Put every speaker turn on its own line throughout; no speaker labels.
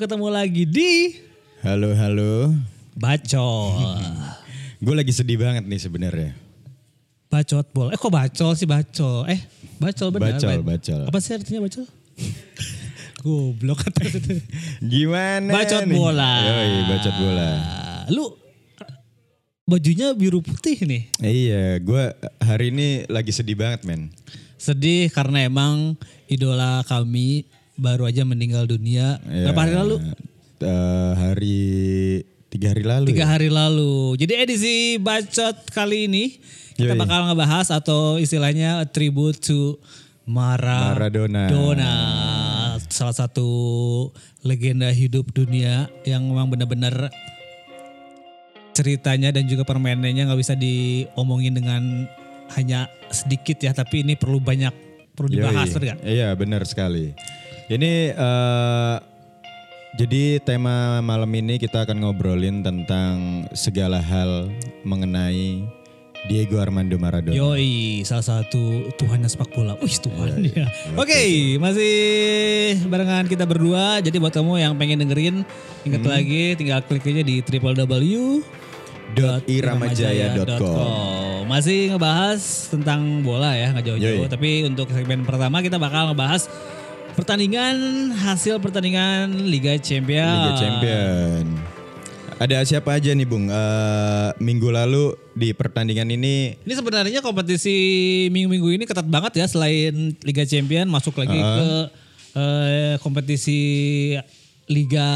ketemu lagi di
Halo, halo.
Bacol.
Gue lagi sedih banget nih sebenarnya.
Bacot bol. Eh kok bacol sih bacol? Eh bacol benar.
Bacol,
Ba-
bacol.
Apa sih artinya bacol? Goblok kata itu.
Gimana?
Bacot
nih?
bola.
Yoi, bacot bola.
Lu bajunya biru putih nih.
Iya, gue hari ini lagi sedih banget, men.
Sedih karena emang idola kami baru aja meninggal dunia.
Ya,
Berapa hari lalu?
eh, hari tiga hari lalu.
Tiga
ya?
hari lalu. Jadi edisi bacot kali ini kita
Yoi.
bakal ngebahas atau istilahnya a tribute to Mara
Maradona.
Dona, salah satu legenda hidup dunia yang memang benar-benar ceritanya dan juga permainannya nggak bisa diomongin dengan hanya sedikit ya, tapi ini perlu banyak perlu
Yoi.
dibahas bener nggak?
Iya, benar sekali. Ini eh, jadi tema malam ini kita akan ngobrolin tentang segala hal mengenai Diego Armando Maradona.
Yoi, salah satu tuhannya sepak bola. Wih,
Iya,
tuhan ya. Oke, masih barengan kita berdua. Jadi buat kamu yang pengen dengerin, ingat
Hmm.
lagi tinggal klik aja di
.iramajaya.com.
www.iramajaya.com. Masih ngebahas tentang bola ya, nggak jauh-jauh.
Yoi.
Tapi untuk segmen pertama kita bakal ngebahas pertandingan hasil pertandingan Liga Champions.
Liga Champion. Ada siapa aja nih Bung? Eh, minggu lalu di pertandingan ini
Ini sebenarnya kompetisi minggu-minggu ini ketat banget ya selain Liga Champion masuk lagi ke eh, kompetisi liga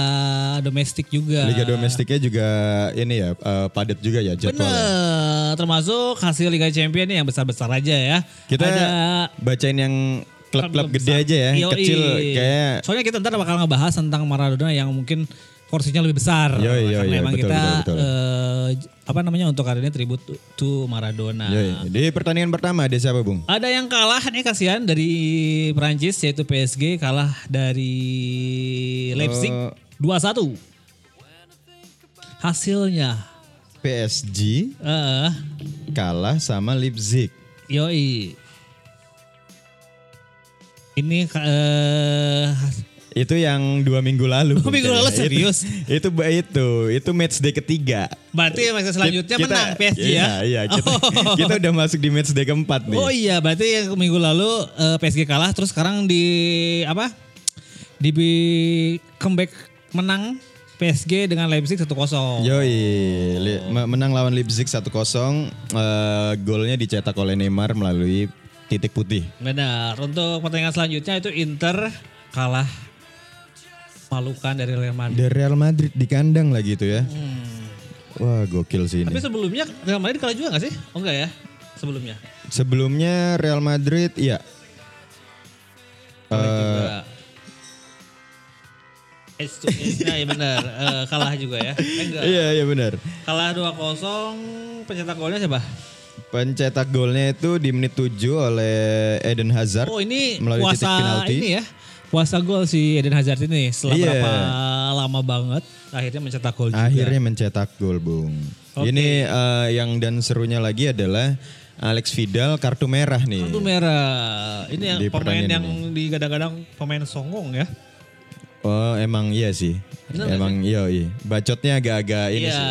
domestik juga.
Liga domestiknya juga ini ya eh, padat juga ya jadwalnya.
Bener, termasuk hasil Liga Champion nih yang besar-besar aja ya.
Kita
ada
bacain yang klub-klub gede
besar.
aja ya,
Yoi.
yang kecil kayak
Soalnya kita ntar bakal ngebahas tentang Maradona yang mungkin porsinya lebih besar.
Yoi, yoi,
Karena
yoi,
emang
betul,
kita
betul, betul.
eh, apa namanya untuk hari ini tribute to- to Maradona.
Yoi. Di pertandingan pertama ada siapa Bung?
Ada yang kalah nih kasihan dari Prancis yaitu PSG kalah dari Leipzig
Eh.
2-1. Hasilnya
PSG
eh
kalah sama Leipzig.
yoi. Ini ka- eh
Itu yang dua minggu lalu.
Dua
Bung,
minggu lalu,
kayaknya.
serius?
Itu, itu itu itu matchday ketiga.
berarti yang selanjutnya
Kita-
menang PSG
iya,
ya.
Iya, kita, kita udah masuk di matchday keempat nih.
Oh iya, berarti yang minggu lalu eh, PSG kalah terus sekarang di apa? Di bi- comeback menang PSG dengan Leipzig 1-0.
Yoi, Li- me- menang lawan Leipzig 1-0. Eh, golnya dicetak oleh Neymar melalui titik putih.
Benar. Untuk pertandingan selanjutnya itu Inter kalah malukan dari Real Madrid.
Dari Real Madrid di kandang lagi itu ya.
Hmm.
Wah, gokil sih
Tapi
ini.
sebelumnya Real Madrid kalah juga gak sih? Oh enggak ya? Sebelumnya.
Sebelumnya Real Madrid, iya. Eh,
Kalah juga. H to H -nya, ya benar. Eh, kalah juga ya. Eh, enggak.
Iya, iya benar.
Kalah 2-0. Pencetak golnya siapa?
Pencetak golnya itu di menit 7 oleh Eden Hazard.
Oh ini
melalui titik
puasa
penalti.
ini ya. Puasa gol si Eden Hazard ini setelah
Iya.
berapa lama banget akhirnya mencetak gol juga.
Akhirnya mencetak gol, Bung. Ini eh, yang dan serunya lagi adalah Alex Vidal kartu merah nih.
Kartu merah. Ini yang
Di
pemain
pertandingan
yang digadang-gadang pemain songong ya.
Oh, emang iya sih. emang iya, iya. Bacotnya agak-agak ini
Iya,
sih.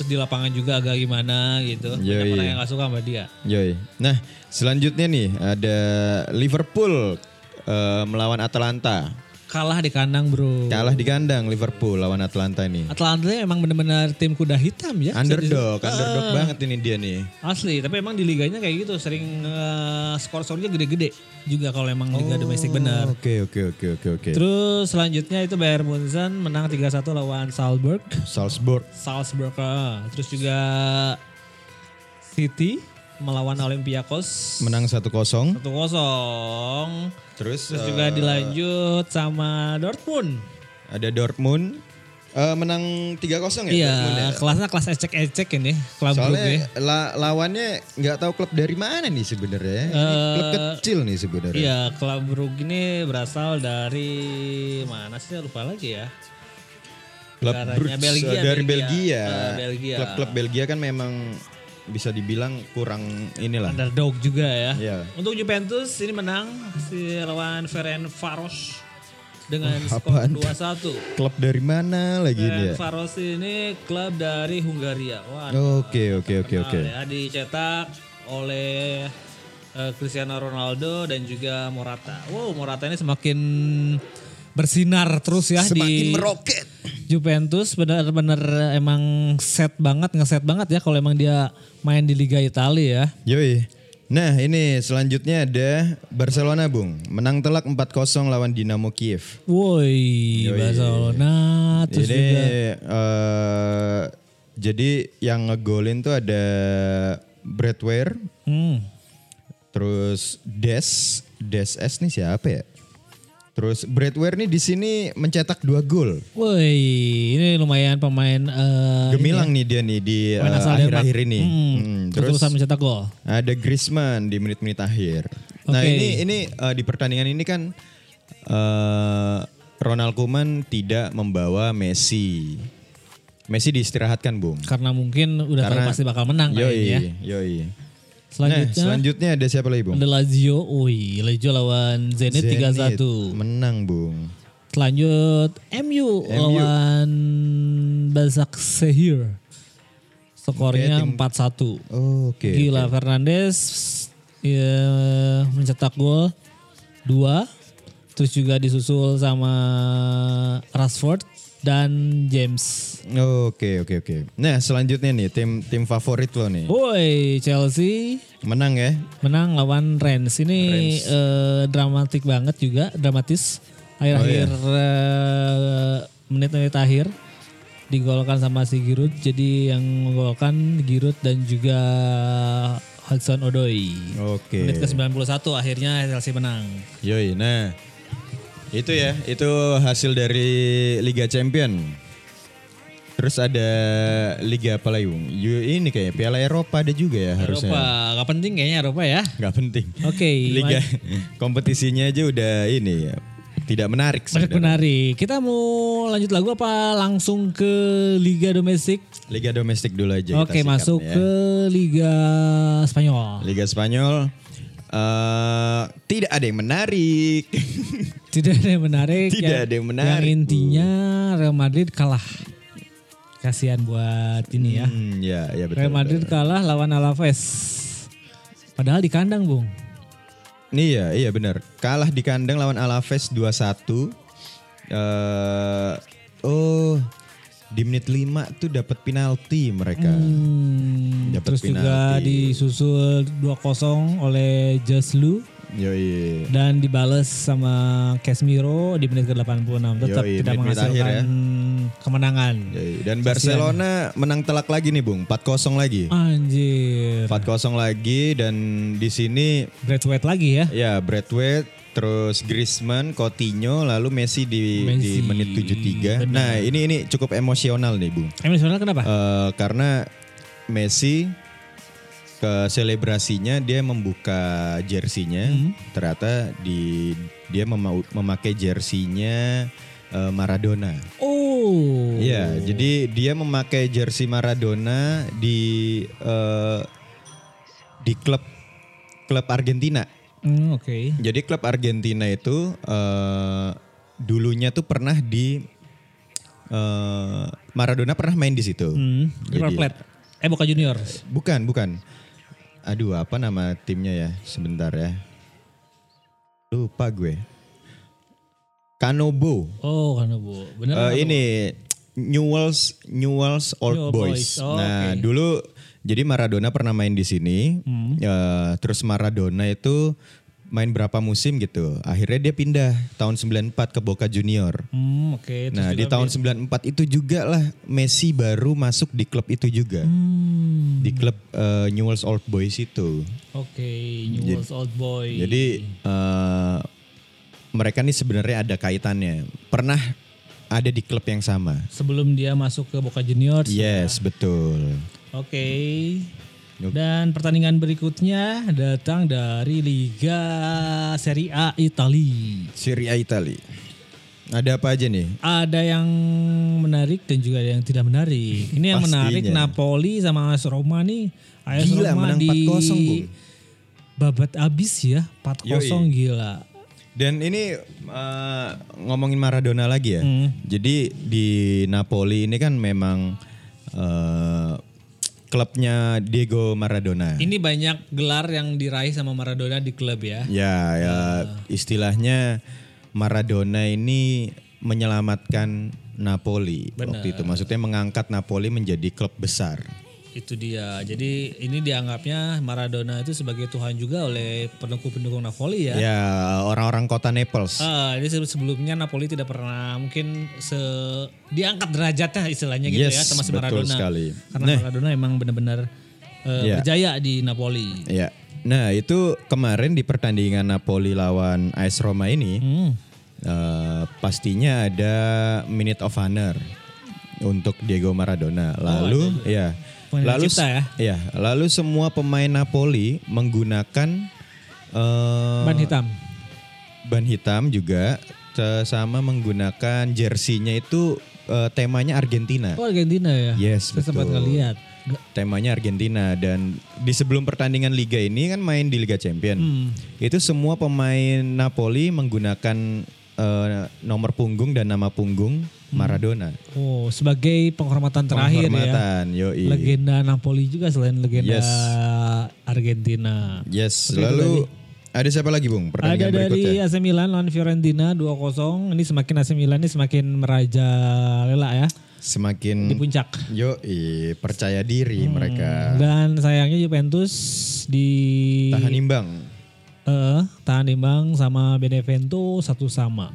terus di lapangan juga agak gimana gitu.
Iya,
Banyak orang
iya.
yang gak suka sama dia.
Yoi. Nah, selanjutnya nih ada Liverpool eh, melawan Atalanta.
Kalah di kandang, Bro.
Kalah di kandang Liverpool lawan Atalanta ini.
Atlanta emang benar-benar tim kuda hitam ya. bisa
Underdog,
disebut.
underdog banget ini dia nih.
Asli, tapi emang di liganya kayak gitu sering eh, skor-skornya gede-gede juga kalau emang liga
Oh.
domestik benar.
Oke, oke, oke, oke, oke.
Terus selanjutnya itu Bayern Munchen menang 3-1 lawan Salzburg.
Salzburg
Salzburg. eh. Terus juga City melawan Olympiakos
menang 1-0.
1-0.
Terus
Terus juga dilanjut sama Dortmund.
ada Dortmund eh, menang 3-0 ya? Dortmund ya?
Iya, ya. kelasnya kelas ecek-ecek ini, klub grupnya.
Soalnya la- lawannya nggak tahu klub dari mana nih sebenarnya. Ini
Eh,
klub kecil nih sebenarnya.
Iya, klub Brugge ini berasal dari mana sih? Lupa lagi ya.
Klub
negaranya
Bruges, eh,
Belgia,
dari
Belgia.
Belgia.
Eh, Belgia.
Klub-klub Belgia kan memang bisa dibilang kurang inilah.
Underdog juga ya.
Iya.
Untuk Juventus ini menang si lawan Ferencvaros dengan skor 2-1.
Klub dari mana lagi
Dan
dia?
Faros ini klub dari Hungaria. Wah,
Oke oke oke oke.
ya, dicetak oleh eh, Cristiano Ronaldo dan juga Morata. Wow, Morata ini semakin bersinar terus ya di
meroket.
Juventus benar-benar emang set banget, ngeset banget ya kalau emang dia main di Liga Italia ya.
Yoi. Nah ini selanjutnya ada Barcelona Bung. Menang telak 4-0 lawan Dinamo Kiev.
Woi, Barcelona terus
Ini
juga
eh, jadi yang ngegolin tuh ada Bradware,
hmm,
terus Des, Des S nih siapa ya? Terus Bradware nih di sini mencetak dua gol.
woi, ini lumayan pemain eh,
Gemilang nih dia nih di eh,
Pemain asal
akhir-akhir ini.
hmm,
Hmm,
terus
terus
mencetak gol.
ada Griezmann di menit-menit akhir. Nah
Oke.
ini ini eh, di pertandingan ini kan eh, Ronald Koeman tidak membawa Messi. Messi diistirahatkan, Bung.
Karena mungkin udah tahu pasti bakal menang
Yoi,
kayaknya.
yoi. Nah,
Selanjutnya
selanjutnya ada siapa lagi, Bung?
ada Lazio, woi, Lazio lawan Zenit,
Zenit
3-1.
Menang, Bung.
Selanjut MU, lawan Basak Sehir. Skornya 4-1.
Oke.
Gila Fernandes ya, mencetak gol 2. Terus juga disusul sama Rashford dan James.
Oke, oke, oke. Nah, selanjutnya nih tim tim favorit lo nih.
Woi, Chelsea
Menang ya?
menang lawan Rennes. Ini eh, dramatik banget juga, dramatis. Akhir-akhir
Oh, iya.
eh, menit-menit akhir digolkan sama si Giroud. Jadi yang menggolkan Giroud dan juga Hudson Odoi. Menit
Oke.
ke-91 akhirnya Chelsea menang.
Yoi, nah. Itu ya, itu hasil dari Liga Champion. Terus ada Liga apa lagi, Bung? Yo, Ini kayaknya Piala Eropa ada juga ya harusnya.
Eropa, gak penting kayaknya Eropa ya.
Gak penting.
Oke,
Liga kompetisinya aja udah ini ya. Tidak menarik
menarik
sebenarnya.
menarik. Kita mau lanjut lagu apa langsung ke liga domestik?
Liga domestik dulu aja kita
Oke,
sikat
masuk
ya.
ke liga Spanyol.
Liga Spanyol eh, tidak ada yang menarik.
Tidak ada yang menarik. ya.
Tidak
yang-
ada yang menarik,
Yang intinya Real Madrid kalah. Kasihan buat ini ya.
Hmm, ya, ya betul.
Real Madrid kalah lawan Alaves. Padahal di kandang, Bung.
Iya, iya benar. Kalah di kandang lawan Alaves 2-1. Eh oh, di menit 5 tuh dapat penalti mereka.
Hmm,
Dapat
terus juga
penalti.
disusul 2-0 oleh Jaslu
Yoi.
dan dibales sama Casemiro di menit ke-86 tetap
Yoi,
tidak
menit-menit akhir
menghasilkan
ya.
kemenangan.
Yoi. Dan Barcelona menang telak lagi nih, Bung. 4-0 lagi.
Ah, Anjir.
4-0 lagi dan di sini
Graduate lagi ya.
Ya, Bradway, terus Griezmann, Coutinho, lalu Messi di,
Messi,
di menit 73. Nah, ini ini cukup emosional nih, Bung.
Emil Sonal kenapa?
Eh, karena Messi ke selebrasinya dia membuka jersinya,
Hmm.
ternyata di dia mema- memakai jersinya eh, Maradona.
oh.
Iya, jadi dia memakai jersey Maradona di eh, di klub klub Argentina.
Hmm, Oke.
Jadi klub Argentina itu eh, dulunya tuh pernah di eh, Maradona pernah main di situ.
Hmm, River Plate. Eh Boca Junior.
Bukan, bukan. Aduh, apa nama timnya ya? Sebentar ya. Lupa gue. Canobo.
Oh karena bu. Bener.
Eh, ini Newell's Newell's Old
Newell's
Boys.
Boys, oh,
nah,
oke. Hmm.
dulu jadi Maradona pernah main di sini. Eh, terus Maradona itu main berapa musim gitu. Akhirnya dia pindah tahun 94 ke Boca Junior.
Hmm, Oke. terus
Nah, di
juga-
tahun 94 itu juga lah Messi baru masuk di klub itu juga.
Hmm,
Di klub eh, Newell's Old Boys itu.
Oke. Newell's Old Boy.
Jadi eh, mereka nih sebenarnya ada kaitannya. Pernah ada di klub yang sama.
sebelum dia masuk ke Boca Juniors.
Yes, betul.
Oke. Dan pertandingan berikutnya datang dari Liga Serie A Italia.
Serie A Itali. Ada apa aja nih?
Ada yang menarik dan juga ada yang tidak menarik. Ini yang
Pastinya.
menarik Napoli sama AS Roma nih. AS
Gila,
Roma
menang
di
4-0, Bung.
babat abis ya, 4-0
Yoi.
gila.
Dan ini eh, ngomongin Maradona lagi ya. Jadi di Napoli ini kan memang eh, klubnya Diego Maradona.
Ini banyak gelar yang diraih sama Maradona di klub ya.
Ya, ya istilahnya Maradona ini menyelamatkan Napoli waktu itu. Maksudnya mengangkat Napoli menjadi klub besar.
Itu dia. Jadi ini dianggapnya Maradona itu sebagai Tuhan juga oleh pendukung-pendukung Napoli ya.
Ya, orang-orang kota Naples.
Ah, jadi se- sebelumnya Napoli tidak pernah mungkin se diangkat derajatnya istilahnya gitu ya
Yes,
sama si
betul
Maradona.
sekali.
Karena Maradona emang benar-benar eh,
Iya.
berjaya di Napoli.
Ya. Nah, itu kemarin di pertandingan Napoli lawan AS Roma ini
Hmm.
eh, pastinya ada minute of honor untuk Diego Maradona. Lalu ya,
Oh, Pemain
lalu
pencipta ya.
ya, lalu semua pemain Napoli menggunakan eh,
Ban hitam.
ban hitam juga te- sama menggunakan jersinya itu eh, temanya Argentina.
Oh Argentina ya.
Yes,
Saya sempat
betul.
ngeliat.
temanya Argentina dan di sebelum pertandingan liga ini kan main di Liga Champion.
Hmm.
Itu semua pemain Napoli menggunakan eh, nomor punggung dan nama punggung Maradona.
Oh, sebagai penghormatan Hmm. terakhir ya.
Penghormatan, yoi.
Legenda Napoli juga selain legenda
Yes.
Argentina.
Yes,
Oke, itu
lalu ada siapa lagi, Bung?
Ada
Pertandingan berikutnya.
dari AC Milan lawan Fiorentina 2-0. Ini semakin AC Milan ini semakin merajalela ya
Semakin
di Hmm. puncak.
yoi, percaya diri mereka.
Dan sayangnya Juventus di
Tahan imbang.
eh, tahan imbang sama Benevento satu sama.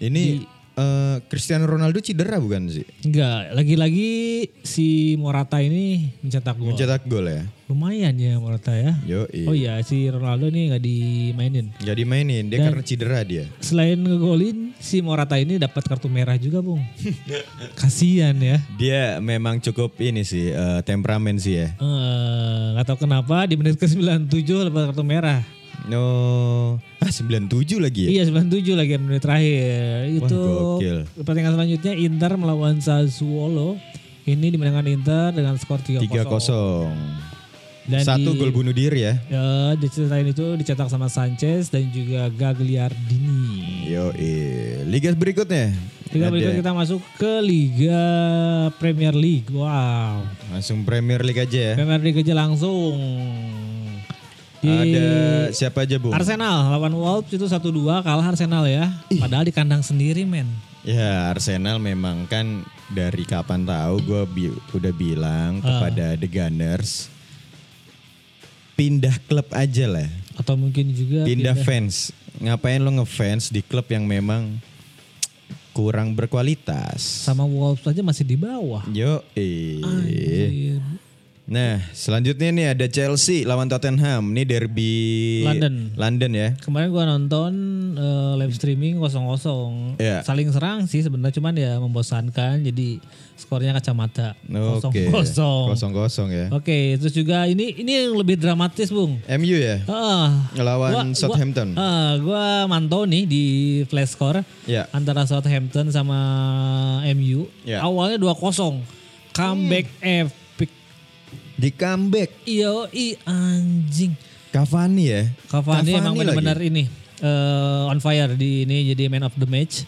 Ini eh, Cristiano Ronaldo cedera bukan sih?
Enggak, lagi-lagi si Morata ini mencetak gol.
Mencetak gol ya.
Lumayan ya Morata ya.
Yoi.
Oh iya, si Ronaldo ini nggak dimainin.
Gak dimainin, dia karena cedera dia.
Selain ngegolin, si Morata ini dapat kartu merah juga, Bung. Kasian ya.
Dia memang cukup ini sih eh, temperamen sih ya.
Eh, nggak tahu kenapa di menit ke-97 dapat kartu merah.
No, ah 97 lagi ya.
Iya 97 lagi menit terakhir. Itu
gokil.
pertandingan selanjutnya Inter melawan Sassuolo. Ini dimenangkan Inter dengan skor 3-0.
3-0.
Dan
Satu
di-
gol bunuh diri ya.
Eh, diceritain itu dicetak sama Sanchez dan juga Gagliardini.
Yo, Liga berikutnya.
Liga
Ada.
berikutnya kita masuk ke Liga Premier League. Wow.
Langsung Premier League aja ya.
Premier League aja langsung. Di
Ada siapa aja, Bu?
Arsenal lawan Wolves itu 1-2 kalah Arsenal ya. Padahal di kandang sendiri men.
Ya, Arsenal memang kan dari kapan tahu gue udah bilang
Ah.
kepada The Gunners pindah klub aja lah.
Atau mungkin juga
pindah fans. Ngapain lo ngefans di klub yang memang kurang berkualitas?
sama Wolves aja masih di bawah.
Yo, Iya.
Iya.
Nah, selanjutnya nih ada Chelsea lawan Tottenham. Ini derby
London.
London ya.
Kemarin gua nonton eh, live streaming 0-0.
Iya.
Saling serang sih sebenarnya cuman ya membosankan jadi skornya kacamata 0-0.
Oke. Kosong-kosong ya.
Oke, terus juga ini ini yang lebih dramatis, Bung.
MU ya
Ah,
lawan Southampton.
ah, gua mantau nih di flash score
Ya.
antara Southampton sama MU.
Ya.
Awalnya 2-0. Comeback
Iya.
epic.
Di comeback
Iyo, i anjing.
Cavani ya.
Cavani
Cavani
emang
lagi.
benar-benar ini eh, on fire di ini jadi man of the match.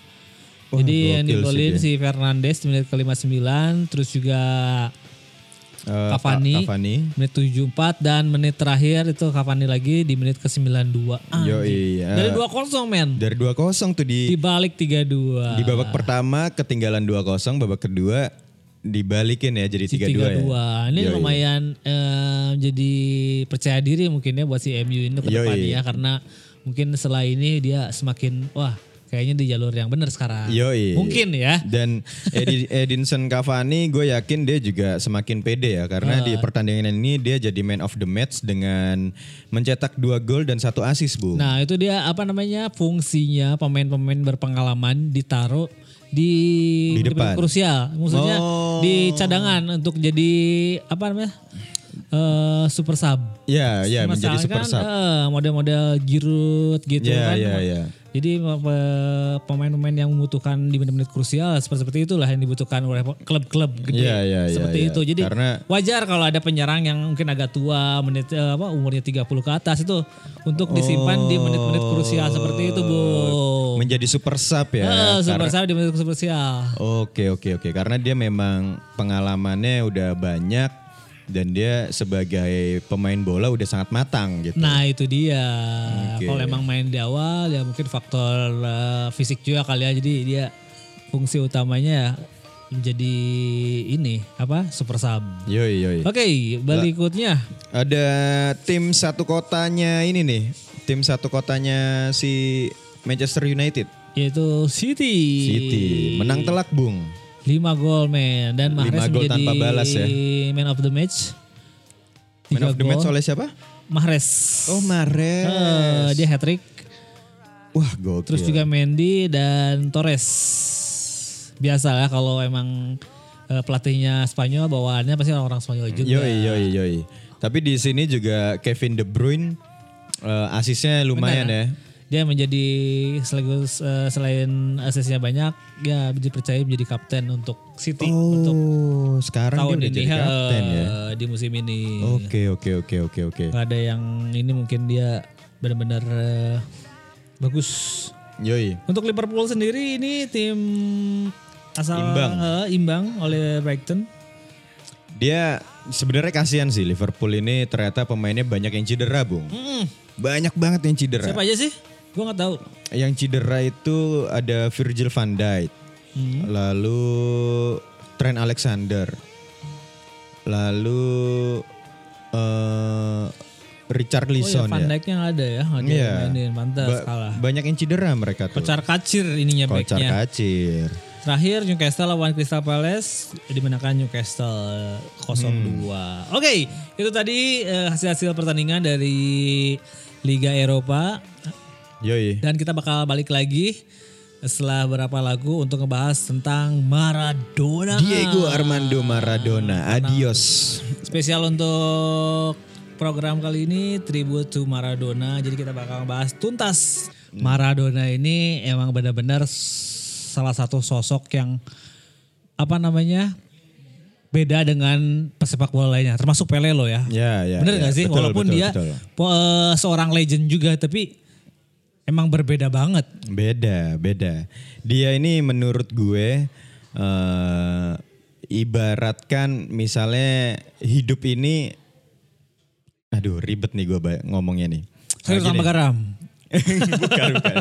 Wah,
jadi yang
gokil sih
digolin
dia.
si Fernandes di menit ke-59 terus juga
Eh,
Cavani.
Ca- Cavani.
menit 74 dan menit terakhir itu Cavani lagi di menit ke-92. Ah,
Yo iya.
dari 2-0 men.
Dari 2-0 tuh di
Dibalik 3-2.
Di
Ah.
babak pertama ketinggalan 2-0, babak kedua dibalikin ya jadi 3-2 ya.
3-2. Ini lumayan eh, jadi percaya diri mungkin ya buat si MU ini ke
Yoi.
depannya ya, karena mungkin setelah ini dia semakin wah kayaknya di jalur yang benar sekarang.
Yoi.
Mungkin ya.
Dan Edi- Edinson Cavani gue yakin dia juga semakin pede ya karena
Ah.
di pertandingan ini dia jadi man of the match dengan mencetak dua gol dan satu assist bu.
Nah, itu dia apa namanya? fungsinya pemain-pemain berpengalaman ditaruh di,
Di depan.
krusial. Maksudnya
Oh.
di cadangan untuk jadi apa namanya? eh super sub.
ya ya menjadi
Masalahnya
super
kan,
sub.
eh, model-model Giroud gitu kan.
Ya ya ya.
Jadi pe- pemain-pemain yang membutuhkan di menit-menit krusial seperti seperti itulah yang dibutuhkan oleh klub-klub gede
Iya, iya, iya,
seperti
iya.
itu. Jadi
Karena-
wajar kalau ada penyerang yang mungkin agak tua, menit eh, apa umurnya 30 ke atas itu untuk disimpan
Oh.
di menit-menit krusial seperti itu, Bu.
Menjadi super sub ya.
Eh, Oh.
karena-
super sub di menit krusial.
Oke oke oke karena dia memang pengalamannya udah banyak dan dia sebagai pemain bola udah sangat matang gitu.
Nah itu dia.
Oke.
Kalau emang main di awal ya mungkin faktor eh, fisik juga kali ya. Jadi dia fungsi utamanya menjadi ini apa super sub.
Yoi yoi.
Oke berikutnya
Ada tim satu kotanya ini nih, tim satu kotanya si Manchester United.
yaitu City.
City menang telak bung.
5 gol men dan
Lima
Mahrez
gol
menjadi
tanpa balas ya.
man of the match.
Man
Tiga
of the match
gol.
oleh siapa?
Mahrez.
Oh Mahrez. Iya.
Eh, dia hat trick.
Wah gokil.
Terus juga Mendy dan Torres. Biasa lah kalau emang eh, pelatihnya Spanyol bawaannya pasti orang-orang Spanyol juga.
Yoi yoi yoi. Tapi di sini juga Kevin De Bruyne eh, asisnya lumayan ya.
Dia menjadi sekaligus eh, selain asisnya banyak, dia dipercaya menjadi kapten untuk City untuk
Oh, sekarang
tahun
dia udah
ini
jadi kapten ya.
eh, di musim ini.
Oke, oke, oke, oke, oke.
Nggak ada yang ini mungkin dia benar-benar eh, bagus.
Yoi.
Untuk Liverpool sendiri ini tim asal
Imbang.
eh, imbang oleh Brighton.
Dia sebenarnya kasihan sih Liverpool ini ternyata pemainnya banyak yang cedera, Bung. Banyak banget yang cedera.
Hmm. Siapa aja sih? Gue nggak tahu.
Yang cedera itu ada Virgil van Dijk.
Hmm.
Lalu Trent Alexander. Lalu eh
Oh
Richard
ya
Lison
Van
ya.
Dijk yang ada ya, ada
Iya.
yang mainin pantas
Ba-
kalah.
banyak yang cedera mereka tuh.
Kocar kacir ininya
Kocar
backnya.
kacir.
Terakhir Newcastle lawan Crystal Palace eh, dimenangkan Newcastle 0-2. Oke, itu tadi eh, hasil-hasil pertandingan dari Liga Eropa
Yoi.
dan kita bakal balik lagi setelah berapa lagu untuk ngebahas tentang Maradona.
Diego Armando Maradona. Adios.
Spesial untuk program kali ini tribute to Maradona. Jadi kita bakal bahas tuntas
Hmm.
Maradona ini emang benar-benar s- salah satu sosok yang apa namanya? beda dengan pesepak bola lainnya termasuk Pele lo ya.
Ya, ya.
Bener
ya.
gak sih?
Betul,
Walaupun
betul,
dia
betul.
po- eh, seorang legend juga tapi emang berbeda banget.
Nah, beda, beda. Dia ini menurut gue eh, ibaratkan misalnya hidup ini aduh ribet nih gue ba- ngomongnya nih.
Sayur
Lagi
sama
nih.
garam.
bukan, bukan.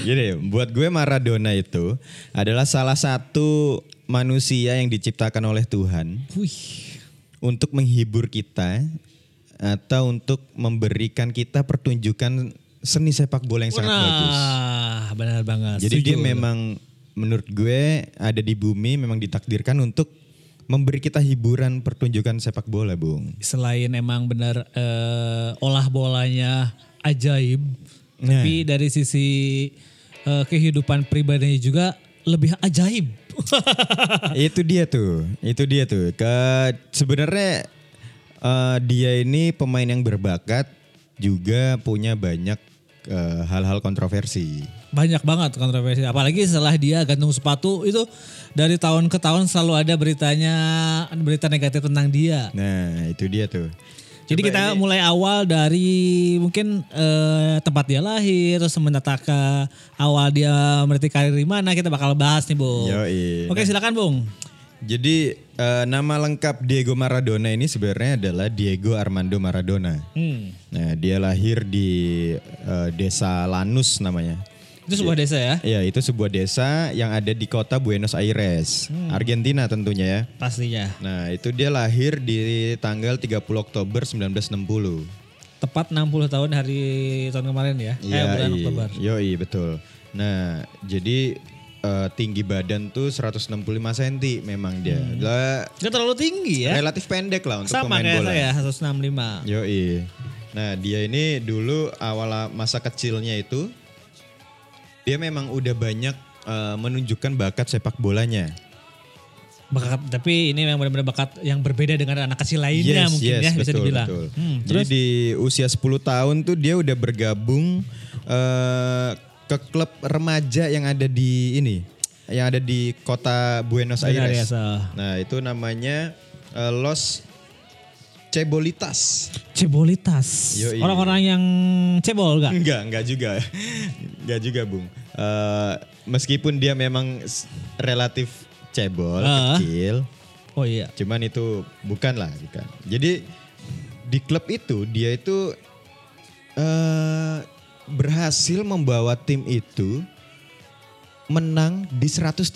Gini, buat gue Maradona itu adalah salah satu manusia yang diciptakan oleh Tuhan
Wih.
untuk menghibur kita atau untuk memberikan kita pertunjukan seni sepak bola yang sangat bagus.
Nah, benar banget.
Jadi dia
Setuju.
memang menurut gue ada di bumi memang ditakdirkan untuk memberi kita hiburan pertunjukan sepak bola, Bung.
selain emang benar eh, olah bolanya ajaib, tapi dari sisi eh, kehidupan pribadinya juga lebih ajaib.
itu dia tuh, itu dia tuh. Ke sebenarnya eh, dia ini pemain yang berbakat juga punya banyak eh, hal-hal kontroversi.
Banyak banget kontroversi, apalagi setelah dia gantung sepatu itu dari tahun ke tahun selalu ada beritanya berita negatif tentang dia.
Nah, itu dia tuh.
Jadi kita mulai awal dari mungkin eh, tempat dia lahir, terus menata ke awal dia meniti karir di mana kita bakal bahas nih, Bung.
Iya. Yoi.
Oke, silakan, Bung.
Jadi eh, nama lengkap Diego Maradona ini sebenarnya adalah Diego Armando Maradona.
Hmm.
Nah, dia lahir di eh, desa Lanus namanya.
Itu sebuah desa ya.
Ya, itu sebuah desa yang ada di kota Buenos Aires,
Hmm.
Argentina tentunya ya.
Pastinya.
Nah, itu dia lahir di tanggal 30 Oktober 1960.
Tepat 60 tahun hari tahun kemarin ya. eh
Iya,
bulan
i-
Oktober.
Yoi, betul. Nah, jadi eh, tinggi badan tuh 165 cm memang dia. Lah,
Gak terlalu tinggi Hmm. ya.
Relatif pendek lah untuk
Sama
pemain
kayak
Iya, bola.
saya 165.
Yoi. Nah dia ini dulu awal masa kecilnya itu dia memang udah banyak eh, menunjukkan bakat sepak bolanya.
Bakat, tapi ini memang benar-benar bakat yang berbeda dengan anak kecil lainnya mungkin ya bisa dibilang. Hmm,
Jadi di usia 10 tahun tuh dia udah bergabung eh, ke klub remaja yang ada di ini, yang ada di kota Buenos
Benar ya,
Aires.
Sal.
Nah itu namanya eh, Los Cebolitas.
Cebolitas.
Yoi.
Orang-orang yang cebol gak?
Enggak, enggak juga. Enggak juga, Bung. Eh, meskipun dia memang s- relatif cebol,
Ah.
kecil,
Oh iya.
cuman itu bukan lah, bukan. Jadi di klub itu dia itu eh berhasil membawa tim itu menang di 136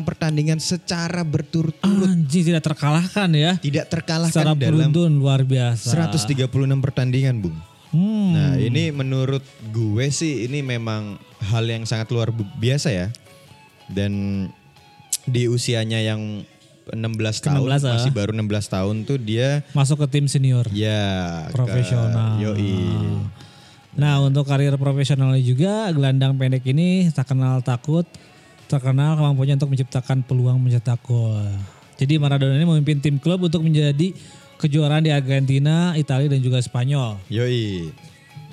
pertandingan secara berturut-turut,
Anjing tidak terkalahkan ya. Ah.
tidak
Secara
terkalahkan dalam
beruntun luar biasa.
136 pertandingan, Bung.
Hmm.
Nah ini menurut gue sih ini memang hal yang sangat luar bu- biasa ya. Dan di usianya yang 16 tahun
16, ah.
masih baru 16 tahun tuh dia
Masuk ke tim senior.
ya ke-
Profesional.
Yoi.
Nah untuk karir profesionalnya juga gelandang pendek ini tak kenal takut, terkenal kemampuannya untuk menciptakan peluang mencetak gol. Jadi Maradona ini memimpin tim klub untuk menjadi kejuaraan di Argentina, Italia dan juga Spanyol.
Yoi.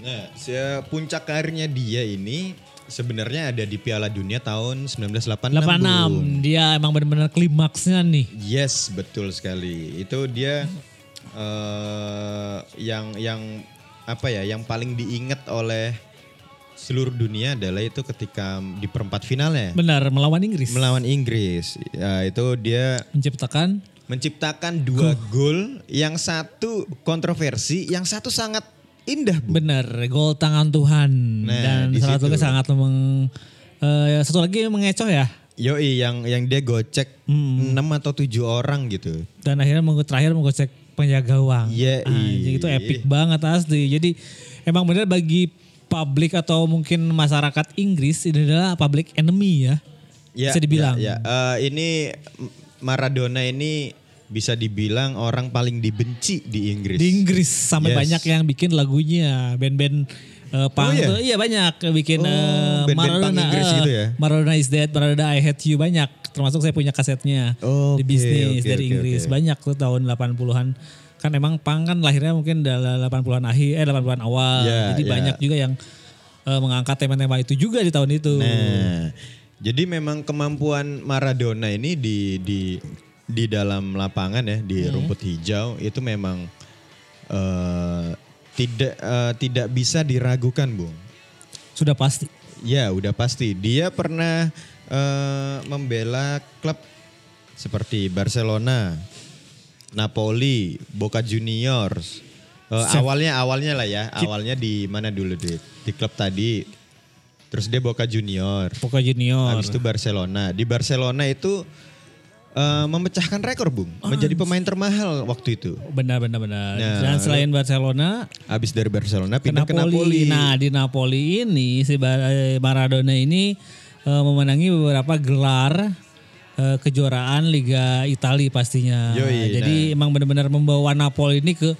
Nah, se- puncak karirnya dia ini sebenarnya ada di Piala Dunia tahun 1986.
86 dia emang benar-benar klimaksnya nih.
Yes, betul sekali. Itu dia eh yang yang apa ya, yang paling diingat oleh seluruh dunia adalah itu ketika di perempat finalnya
Benar melawan Inggris.
melawan Inggris. Ya, itu dia
menciptakan
menciptakan dua gol, yang satu kontroversi, yang satu sangat indah, Bu.
benar gol tangan Tuhan
Nah,
dan
di
salah
situ.
satunya sangat meng eh, satu lagi mengecoh ya
Yoi, yang yang dia gocek 6 atau 7 orang gitu.
dan akhirnya menggo- terakhir menggocek penjaga uang.
Iya,
Anjing,
iya.
itu epic banget asli. Jadi emang benar bagi publik atau mungkin masyarakat Inggris ini adalah public enemy ya. bisa dibilang.
Ya, ya. Eh, ini M- Maradona ini bisa dibilang orang paling dibenci di Inggris.
Di Inggris sampai
Yes.
banyak yang bikin lagunya band-band eh, punk
iya?
tuh. iya banyak yang bikin
Oh,
eh,
band-band punk
Maradona
Inggris
eh,
gitu ya?
Maradona is dead, Maradona I hate you banyak. Termasuk saya punya kasetnya
Oke,
di bisnis
oke,
dari
oke,
Inggris
oke.
banyak tuh tahun 80-an. Kan emang punk kan lahirnya mungkin dalam 80-an akhir eh 80-an awal.
Ya,
Jadi
ya.
banyak juga yang eh, mengangkat tema-tema itu juga di tahun itu.
Nah, jadi memang kemampuan Maradona ini di di di dalam lapangan ya di
Iya.
rumput hijau itu memang eh, tidak eh, tidak bisa diragukan, Bung.
Sudah pasti.
Ya, udah pasti. Dia pernah eh, membela klub seperti Barcelona, Napoli, Boca Juniors. Eh, awalnya awalnya lah ya, awalnya di mana dulu di di klub tadi. Terus dia Boca Junior,
Pokok Junior.
habis itu Barcelona. Di Barcelona itu eh, memecahkan rekor, Bung. Menjadi pemain termahal waktu itu.
Benar benar benar.
Nah,
Dan selain Barcelona,
Habis dari Barcelona
ke
pindah ke Napoli.
Nah di Napoli ini si Bar- Maradona ini eh, memenangi beberapa gelar eh, kejuaraan Liga Italia pastinya.
Yoi, nah.
Jadi emang benar-benar membawa Napoli ini ke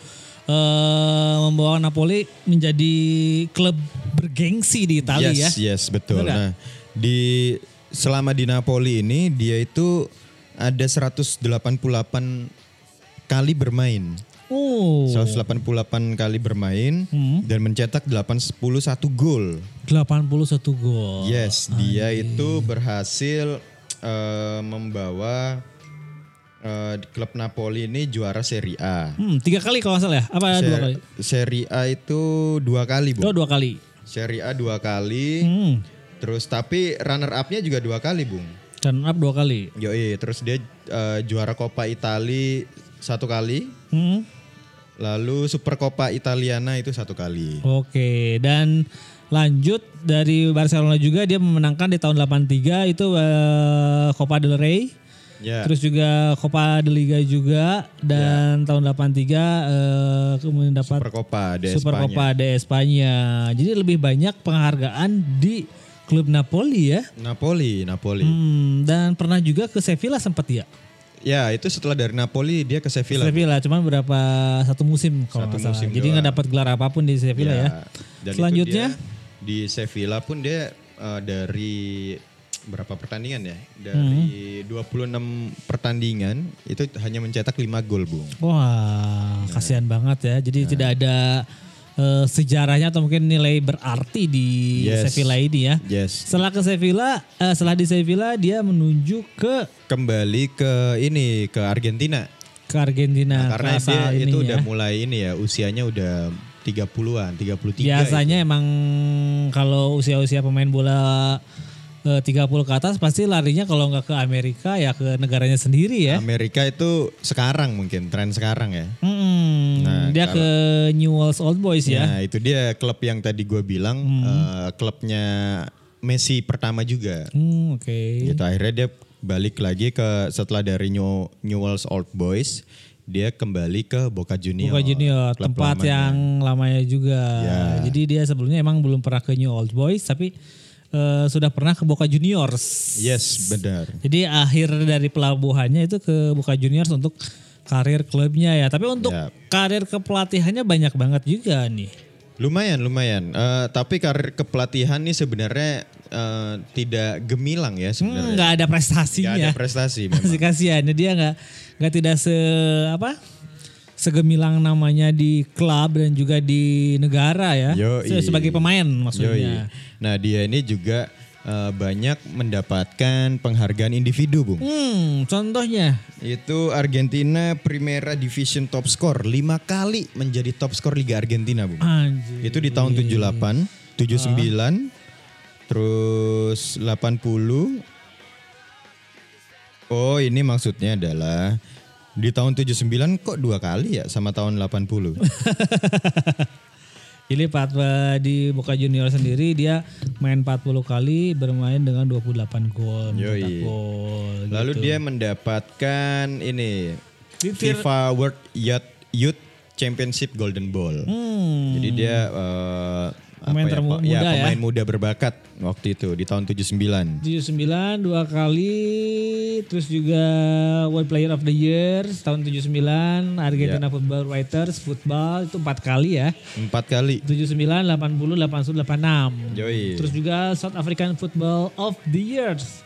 eh, membawa Napoli menjadi klub bergengsi di Italia ya.
yes, Yes,
Bener
betul.
nggak?
Nah, di selama di Napoli ini dia itu ada 188 kali bermain.
Oh, Hmm.
188 kali bermain dan mencetak 811 gol.
81 gol.
Yes, dia itu berhasil eh, membawa eh, klub Napoli ini juara Serie A.
Hmm, tiga kali kalau nggak salah ya? Apa dua kali?
Ser- Serie A itu dua kali, Bu.
Oh, dua kali.
Serie A dua kali.
Hmm.
Terus tapi runner up-nya juga dua kali, Bung.
Dan up dua kali.
Yoi, terus dia eh, juara Coppa Itali satu kali,
Hmm.
lalu Super Coppa Italiana itu satu kali.
Oke, dan lanjut dari Barcelona juga dia memenangkan di tahun 83 itu eh, Copa del Rey,
Ya. Ya.
terus juga Copa de Liga juga dan tahun 83 eh, kemudian dapat
Super Coppa de
Super
Espanya.
Copa de Espanya. Jadi lebih banyak penghargaan di klub Napoli ya.
Napoli, Napoli.
Hmm, dan pernah juga ke Sevilla sempat ya.
Ya, itu setelah dari Napoli dia ke Sevilla.
Sevilla cuman berapa satu musim kalau nggak salah. Jadi nggak dapat gelar apapun di Sevilla ya.
Dan itu
Selanjutnya?
dia- di Sevilla pun dia eh, dari berapa pertandingan ya?
Hmm.
Dari 26 pertandingan itu hanya mencetak 5 gol, Bung. Ya.
Wah, kasihan banget ya. Jadi tidak ada eh, sejarahnya atau mungkin nilai berarti di
Yes.
Sevilla ini ya.
Yes.
Setelah ke Sevilla, eh, setelah di Sevilla dia menuju ke
Kembali ke ini ke Argentina.
ke Argentina
Nah, Karena
ke asal
dia
ini
itu
ya.
udah mulai ini ya, usianya udah 30-an, 33.
Biasanya emang kalau usia-usia pemain bola eh, 30 ke atas pasti larinya kalau nggak ke Amerika ya ke negaranya sendiri ya.
Amerika itu sekarang mungkin tren sekarang ya.
Mm-mm. dia ke Newell's Old Boys ya.
Nah, itu dia klub yang tadi gue bilang
Hmm.
eh, klubnya Messi pertama juga.
Hmm, oke.
Gitu akhirnya dia balik lagi ke setelah dari New, Newell's Old Boys, dia kembali ke Boca Juniors.
Bukan junior,
Klub
tempat ya.
lamanya.
yang lamanya juga.
Iya.
Jadi dia sebelumnya emang belum pernah ke New Old Boys tapi eh, sudah pernah ke Boca Juniors.
Yes, benar.
Jadi akhir dari pelabuhannya itu ke Boca Juniors untuk karir klubnya ya. Tapi untuk
Yap.
karir kepelatihannya banyak banget juga nih.
Lumayan, lumayan. Eh, tapi karir kepelatihan nih sebenarnya eh, tidak gemilang ya
Hmm,
sebenarnya.
Nggak ada
Nggak ada
prestasinya.
prestasi
Masih
memang.
kasihan dia nggak nggak tidak se apa segemilang namanya di klub dan juga di negara ya.
Yoi.
Se- Sebagai pemain
Yoi.
maksudnya.
Nah dia ini juga eh, banyak mendapatkan penghargaan individu, Bung.
Hmm, contohnya
Itu Argentina Primera Division top score 5 kali menjadi top skor Liga Argentina, Bung.
anjir.
Itu di tahun 78, 79, terus 80. Oh, ini maksudnya adalah di tahun 79 kok dua kali ya sama tahun 80.
Jadi Pat- eh, di Boca Junior sendiri dia main 40 kali bermain dengan 28 gol, mencetak
Yoi.
gol.
Lalu dia mendapatkan ini
Di tier-
FIFA World Youth, Youth Championship Golden Ball.
Hmm,
Jadi dia eh,
Pemain
apa ya,
termu-
Pak? ya,
muda ya.
pemain muda berbakat waktu itu di tahun 79.
79 dua kali terus juga World Player of the Year tahun 79
Ya.
Argentina Football Writers football itu empat kali ya.
Empat kali.
79, 80, 80, 86.
Yoi.
Terus juga South African Football of the Years.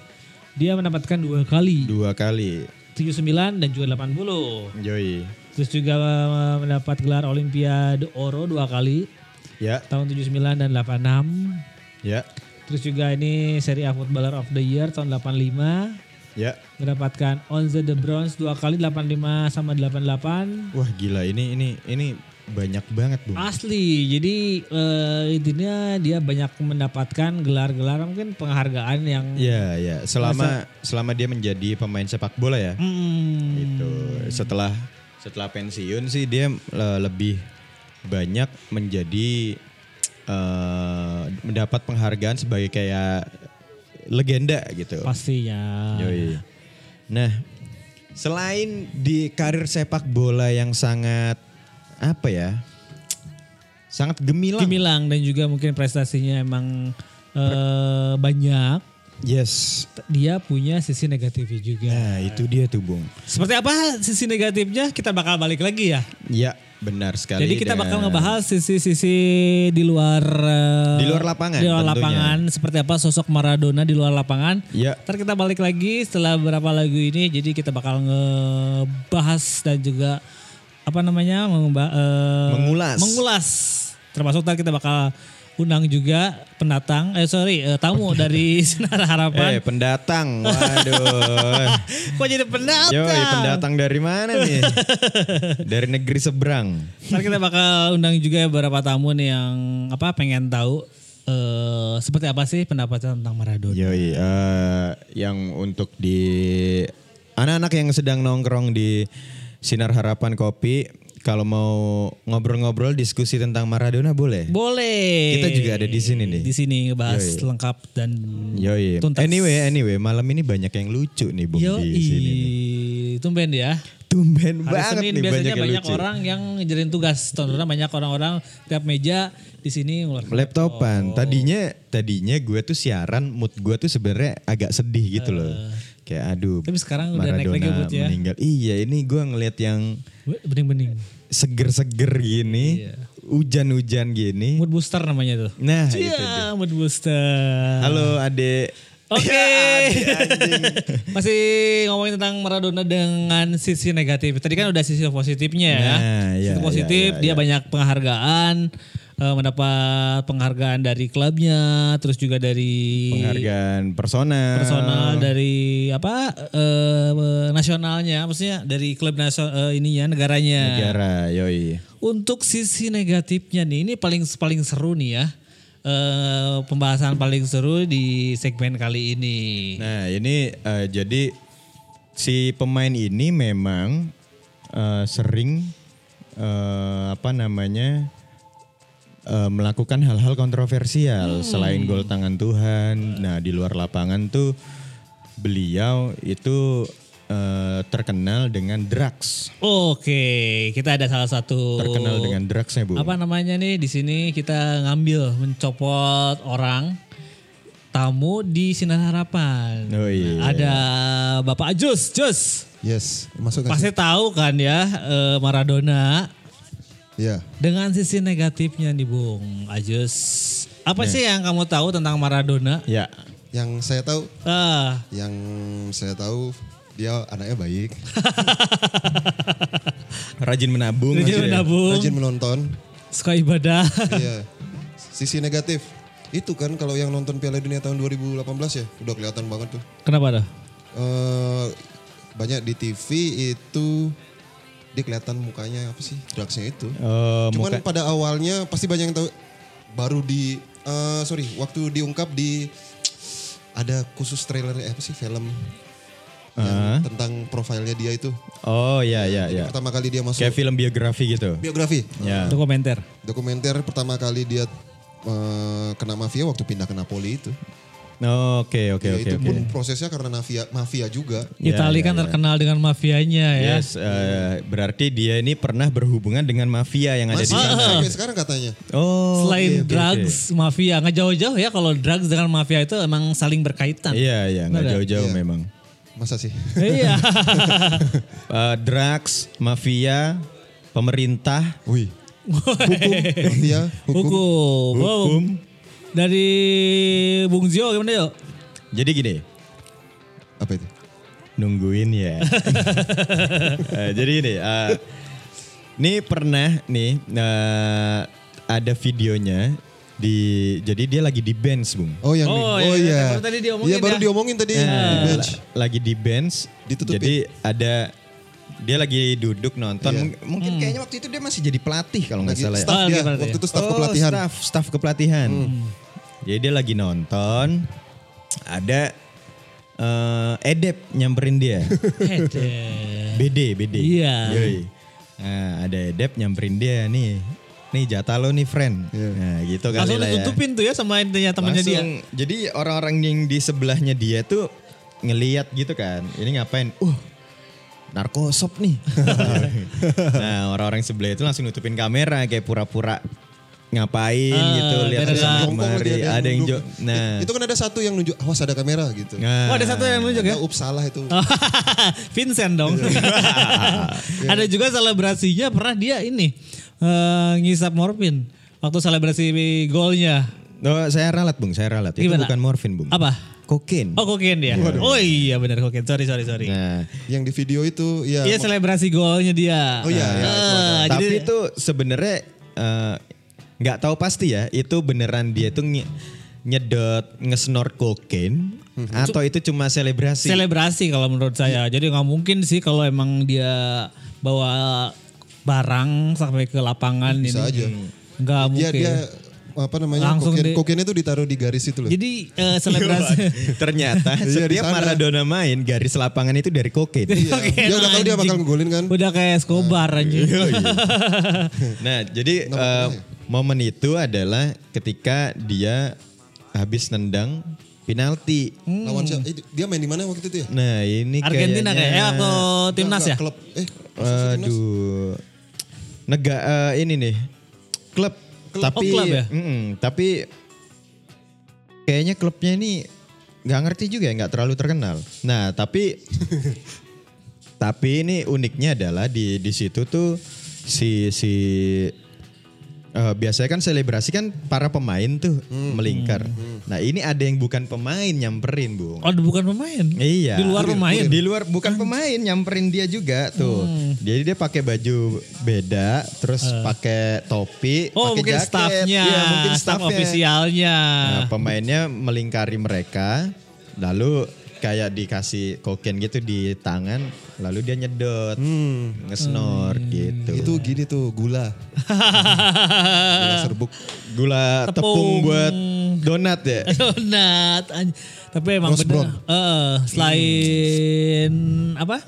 Dia mendapatkan dua kali,
Dua kali.
79 dan juga 80.
Joy.
Terus juga eh, mendapat gelar Olimpiade Oro dua kali
Ya,
tahun 79 dan 86.
ya,
Terus juga ini Serie A Footballer of the Year tahun 85
ya.
mendapatkan Onze de Bronze dua kali 85 sama 88.
Wah gila ini ini ini banyak banget
Ah.
bung.
Asli, jadi eh, intinya dia banyak mendapatkan gelar-gelar mungkin penghargaan yang
Ya ya. Selama selama dia menjadi pemain sepak bola ya.
Hmm,
Gitu. Setelah setelah pensiun sih dia eh, lebih banyak menjadi eh, mendapat penghargaan sebagai kayak legenda gitu.
pastinya.
Yoi. Nah, selain di karir sepak bola yang sangat apa ya? Sangat gemilang.
Gemilang dan juga mungkin prestasinya emang eh, banyak.
Yes.
Dia punya sisi negatifnya juga.
Nah, itu dia tuh, Bung.
Seperti apa sisi negatifnya kita bakal balik lagi ya.
Ya, benar sekali.
Jadi kita
dengan-
bakal ngebahas sisi-sisi di luar eh,
Di luar lapangan
Di luar
tentunya.
lapangan seperti apa sosok Maradona di luar lapangan.
Ya,
Ntar kita balik lagi setelah beberapa lagu ini jadi kita bakal ngebahas dan juga apa namanya mengeba- eh,
Mengulas.
Mengulas. Termasuk ntar kita bakal undang juga pendatang eh sorry eh, tamu dari Sinar Harapan.
eh pendatang. Waduh.
Kok jadi pendatang?
Yoi, pendatang dari mana nih? dari negeri seberang.
Ntar kita bakal undang juga ya beberapa tamu nih yang apa pengen tahu eh seperti apa sih pendapatnya tentang Maradona.
Yoi, eh, yang untuk di anak-anak yang sedang nongkrong di Sinar Harapan Kopi, kalau mau ngobrol-ngobrol diskusi tentang Maradona boleh.
Boleh.
Kita juga ada di sini nih.
Di sini ngebahas lengkap dan
Yoi.
Tuntas.
Anyway, anyway, malam ini banyak yang lucu nih Bung
yo
di sini. nih.
tumben ya. Hari
Tumben banget
Senin
nih
biasanya
banyak yang
banyak
lucu.
orang yang ngejarin tugas. Contohnya banyak orang-orang tiap meja di sini ngeluarin Oh.
Laptopan. Tadinya tadinya gue tuh siaran mood gue tuh sebenarnya agak sedih gitu loh. Kayak aduh.
Eh. Tapi sekarang udah naik
Maradona
lagi mood ya.
meninggal. Iya, ini gue ngelihat yang
Bening-bening.
seger-seger gini, hujan-hujan
Iya.
gini.
Mood booster namanya tuh.
Nah, itu.
Iya, mood booster.
Halo Ade.
Oke.
Ya,
Masih ngomongin tentang Maradona dengan sisi negatif. Tadi kan udah sisi positifnya ya.
Nah, iya,
sisi positif
iya, iya,
dia banyak penghargaan, eh, mendapat penghargaan dari klubnya, terus juga dari
Penghargaan personal.
personal dari apa eh, nasionalnya, maksudnya dari klub nasional eh, ininya negaranya.
Negara, yoi.
Untuk sisi negatifnya nih, ini paling paling seru nih ya. Eh, pembahasan paling seru di segmen kali ini.
Nah ini eh, jadi si pemain ini memang eh, sering eh, apa namanya eh, melakukan hal-hal
Hmm.
kontroversial selain gol tangan Tuhan. Nah di luar lapangan tuh beliau itu eh, terkenal dengan drugs,
Oke, kita ada salah satu
terkenal dengan drugsnya bu.
Oh. apa namanya nih di sini kita ngambil mencopot orang tamu di Sinar Harapan.
Oh iya.
Ada Bapak Jus, Jus.
Yes, masuk nggak sih?
Pasti tahu kan ya eh, Maradona
Iya.
dengan sisi negatifnya nih Bung Ajus. Apa
Iya.
sih yang kamu tahu tentang Maradona?
Ya.
Yang saya tahu,
Ah,
yang saya tahu dia anaknya baik,
Rajin menabung.
Rajin
maksudnya.
menabung,
rajin menonton.
suka ibadah.
Iya. Sisi negatif. Itu kan kalau yang nonton Piala Dunia tahun 2018 ya, udah kelihatan banget tuh.
Kenapa dah?
Eh banyak di TV itu dia kelihatan mukanya apa sih? Drugsnya itu.
Eh,
Cuman pada awalnya pasti banyak yang tahu baru di eh sorry waktu diungkap di ada khusus trailer eh, apa sih film yang tentang profilnya dia itu
oh ya ya ya.
pertama kali dia masuk
Kayak film biografi gitu.
biografi
Ya.
Dokumenter.
dokumenter pertama kali dia eh, kena mafia waktu pindah ke Napoli itu
Oke oke
Ya,
oke
itu
oke.
pun prosesnya karena mafia mafia juga
Ya,
Italia
ya,
kan terkenal dengan mafianya ya.
Yes, eh, berarti dia ini pernah berhubungan dengan mafia yang ada di
masih
sana.
sampai sekarang katanya
Oh,
Selain
oke, oke,
drugs, mafia, nggak jauh-jauh ya kalau drugs dengan mafia itu emang saling
oke.
berkaitan.
Iya, iya, nggak
Nggak ada?
jauh-jauh memang.
masa sih
Iya.
Eh, drugs, mafia, pemerintah,
wih hukum mafia hukum
Hukum. Wow.
hukum.
Dari Bung Zio gimana yuk?
Jadi gini,
apa itu
nungguin ya. Eh, jadi ini, eh, ini pernah nih eh, ada videonya di, jadi dia lagi di bench, bung.
Oh yang
Oh,
ini.
iya,
Oh iya.
baru tadi diomongin
Iya, baru
ya.
diomongin tadi di
Nah,
bench.
la- lagi di bench
Ditutupin.
jadi ada dia lagi duduk nonton Mung- mungkin
Hmm.
kayaknya waktu itu dia masih jadi pelatih kalau nggak
Iya. Lagi
salah ya.
staff
Oh,
dia.
gimana
Waktu
dia?
itu staff
Oh,
kepelatihan. Hmm.
staff staff kepelatihan jadi dia lagi nonton ada eh, edep nyamperin dia
Hede.
BD BD
Iya.
Yoi. Nah, ada edep nyamperin dia nih nih jatah lo nih friend
Iya.
nah gitu kali
Langsung
lah ya.
ditutupin tuh ya sama intinya temannya dia.
Langsung, Jadi orang-orang yang di sebelahnya dia tuh ngeliat gitu kan. Ini ngapain? Uh, narkosop nih. nah orang-orang sebelah itu langsung nutupin kamera kayak pura-pura ngapain
Ah,
gitu. Lihat
beneran.
sana
Jongkok lagi,
kemari. Ada yang
nunduk.
jo- Nah.
Itu kan ada satu yang nunjuk, awas ada kamera gitu.
nah.
Oh ada satu yang menunjuk ya?
Ya, ups salah itu.
Vincent dong.
Iya.
Ada juga selebrasinya pernah dia ini eh, ngisap morfin waktu selebrasi golnya.
Oh, saya ralat bung, saya ralat. Itu
Gimana?
bukan morfin bung.
Apa?
Kokain.
Oh kokain dia. Oh iya benar kokain. Sorry sorry sorry.
Nah,
yang di video itu ya
Iya selebrasi golnya dia.
Oh iya, iya,
Eh,
itu ada.
jadi
Nah, Tapi itu sebenarnya eh, nggak tahu pasti ya. Itu beneran dia tuh nge- nyedot ngesnort kokain atau itu cuma selebrasi?
selebrasi kalau menurut saya. Jadi nggak mungkin sih kalau emang dia bawa barang sampai ke lapangan
Bisa
ini.
aja.
Nggak
dia
mungkin.
dia apa namanya?
Langsung
kokain,
di-
kokain itu ditaruh di garis itu loh.
Jadi eh, selebrasi.
Ternyata
Iya, di
setiap
sana.
Maradona main garis lapangan itu dari kokain.
Iya. dia udah tahu dia bakal
Anjing.
ngegolin kan.
Udah kayak Escobar anjing.
nah, jadi
Nomor
eh,
berapa ya?
momen itu adalah ketika dia habis nendang penalti.
Lawan siapa? Eh, dia main di mana waktu itu ya?
Nah, ini
Argentina kayak
kayaknya-
eh waktu timnas
Enggak,
ya.
enggak, Klub. Eh,
Aduh. Nega eh, ini nih. Klub. Tapi
Oh, klub ya?
Mm-mm, tapi kayaknya klubnya ini nggak ngerti juga ya, nggak terlalu terkenal. Nah, tapi tapi ini uniknya adalah di di situ tuh si si Eh, biasanya kan selebrasi kan para pemain tuh
Hmm.
melingkar. Nah ini ada yang bukan pemain nyamperin bung.
Oh bukan pemain?
Iya.
Di luar pemain? Hmm.
Di luar bukan pemain nyamperin dia juga tuh. Jadi dia pakai baju beda, terus pakai
Eh.
topi,
Oh
pakai
mungkin
jaket.
staffnya,
Iya, mungkin
staff
staffnya.
ofisialnya.
Nah, pemainnya melingkari mereka, lalu kayak dikasih koken gitu di tangan, lalu dia nyedot,
Hmm.
ngesnor gitu.
Itu gini tuh gula, gula serbuk.
Gula tepung.
Tepung.
buat donat ya.
Donat. anj- Tapi emang
Roast
bener.
brown.
Eh, selain apa?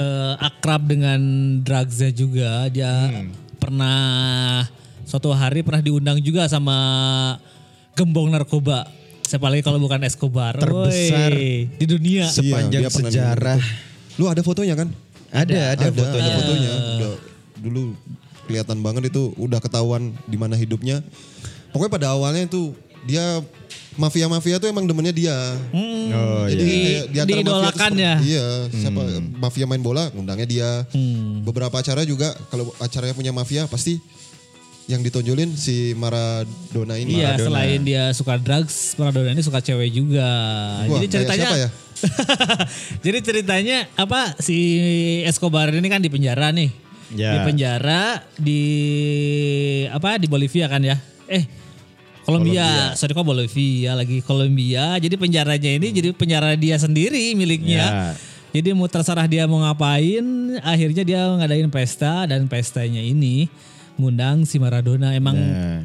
Eh, akrab dengan drugsnya juga. Dia pernah suatu hari pernah diundang juga sama gembong narkoba. Siapa lagi kalau bukan Escobar.
Terbesar
Woi, di dunia.
Sepanjang
Iya, dia pernah
sejarah.
Lu ada fotonya kan?
Ada, ada,
Ada,
Bang.
fotonya, fotonya. Udah, dulu kelihatan banget itu udah ketahuan di mana hidupnya. Pokoknya pada awalnya itu dia mafia-mafia tuh emang demennya dia.
Hmm.
Oh iya.
Di-
kayak antara mafia tuh
diidolakan
seperti-
ya? Hmm.
Iya, siapa mafia main bola ngundangnya dia. Beberapa acara juga kalau acaranya punya mafia pasti yang ditonjolin si Maradona ini.
Iya,
Maradona.
selain dia suka drugs, Maradona ini suka cewek juga.
Wah,
Jadi
kayak
ceritanya
siapa ya?
Jadi ceritanya apa si Escobar ini kan di penjara nih. Di
Ya.
penjara di apa di Bolivia kan ya? Eh Kolombia, sorry kok Bolivia lagi Kolombia. Jadi penjaranya ini jadi penjara dia sendiri miliknya.
Hmm. Ya.
Jadi mau terserah dia mau ngapain, akhirnya dia ngadain pesta dan pestanya ini ngundang si Maradona. Emang
Nah.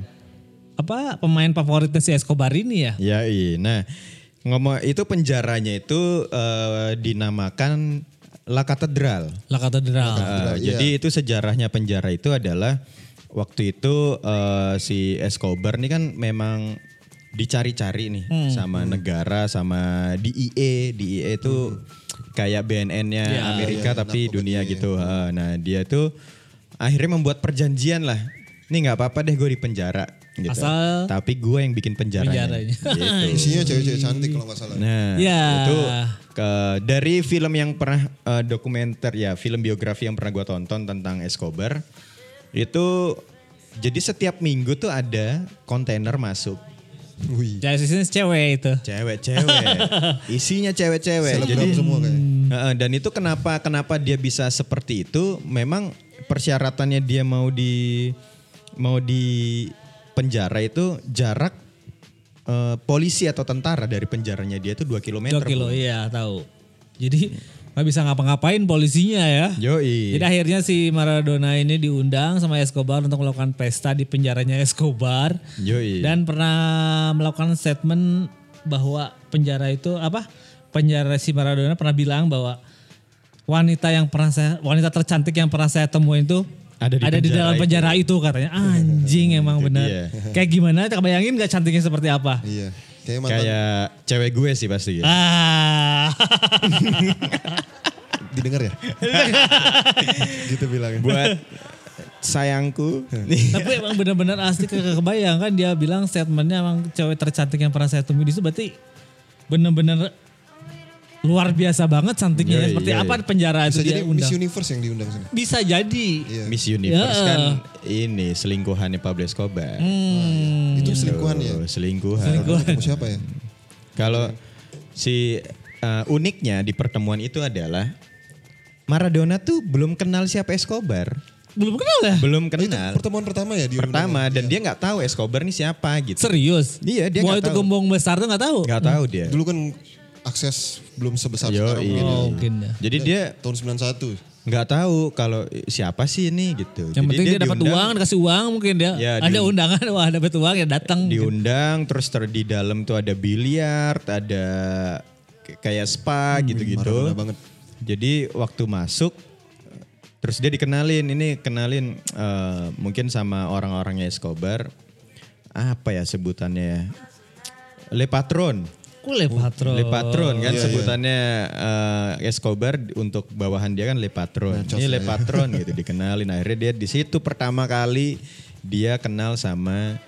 apa pemain favoritnya si Escobar ini ya?
Ya iya. Nah ngomong itu penjaranya itu eh, dinamakan La Katedral.
La Catedral.
Eh, Jadi itu sejarahnya penjara itu adalah waktu itu eh, si Escobar ini kan memang dicari-cari nih sama negara sama E DIE, DIE itu kayak BNN-nya
Ya,
Amerika tapi dunia gitu. Ha, Nah dia itu akhirnya membuat perjanjian lah. Ini nggak apa-apa deh gue di penjara. Gitu.
Asal-
tapi gue yang bikin penjaranya.
Penjaranya.
Gitu.
Isinya cewek-cewek cantik kalau nggak salah.
Nah,
Ya.
itu ke- dari film yang pernah eh, dokumenter ya, film biografi yang pernah gua tonton tentang Escobar itu jadi setiap minggu tuh ada kontainer masuk
Wih,
Jadi sini cewek itu.
cewek-cewek, isinya cewek-cewek.
selebgram
Jadi
semua kayaknya.
Heeh, dan itu kenapa kenapa dia bisa seperti itu? Memang persyaratannya dia mau di mau di penjara itu jarak eh, polisi atau tentara dari penjaranya dia itu
Dua
2 km.
kilo, iya tahu. Jadi nggak bisa ngapa-ngapain polisinya ya.
Yoi.
Jadi akhirnya si Maradona ini diundang sama Escobar untuk melakukan pesta di penjaranya Escobar
Yoi.
dan pernah melakukan statement bahwa penjara itu apa? Penjara si Maradona pernah bilang bahwa wanita yang pernah saya wanita tercantik yang pernah saya temuin itu
Ada di penjara
dalam
itu.
penjara itu. katanya. Anjing emang benar.
dia.
Kayak gimana? Bayangin gak cantiknya seperti apa?
Iya, kayak mantan
Kayak cewek gue sih pasti. ya.
Ah.
didengar ya. gitu bilangnya.
Buat sayangku.
Tapi emang benar-benar asli ke kebayang kan dia bilang statementnya emang cewek tercantik yang pernah saya temui di situ berarti benar-benar luar biasa banget cantiknya ya.
Iya,
seperti
iya,
apa
iya.
penjara itu
Bisa
dia
jadi Miss
undang.
Universe yang diundang sana.
Bisa jadi.
Iya.
Miss Universe
Ya.
kan ini selingkuhannya Pablo Escobar.
Hmm.
Itu selingkuhan ya.
Oh, selingkuhan.
Ketemu siapa ya?
Kalau si uh, uniknya di pertemuan itu adalah Maradona tuh belum kenal siapa Escobar,
Belum kenal ya?
belum kenal.
Oh, Pertemuan pertama ya diundang.
Pertama dan dia nggak tahu Escobar ini siapa gitu.
Serius?
Iya, dia
Wah itu
nggak tahu.
gembong besar tuh nggak tahu.
Nggak tahu dia.
Dulu kan akses belum sebesar
Yo,
sekarang
iya.
mungkin.
Oh, mungkin ya.
Jadi dia
Tahun 91.
nggak tahu kalau siapa sih ini gitu.
Yang
Jadi
penting dia, dapat
diundang-
uang, dikasih uang mungkin dia.
Iya,
ada
diundang.
undangan, wah dapat uang ya datang.
diundang terus ter di dalam tuh ada biliar ada k- kayak spa
Hmm,
gitu-gitu
Maradona banget.
jadi waktu masuk terus dia dikenalin ini kenalin eh, mungkin sama orang-orangnya Escobar apa ya sebutannya ya? Le Patron
Kule patron.
Le Patron kan sebutannya eh, Escobar untuk bawahan dia kan Le Patron. Ini Le Patron gitu dikenalin akhirnya dia di situ pertama kali dia kenal sama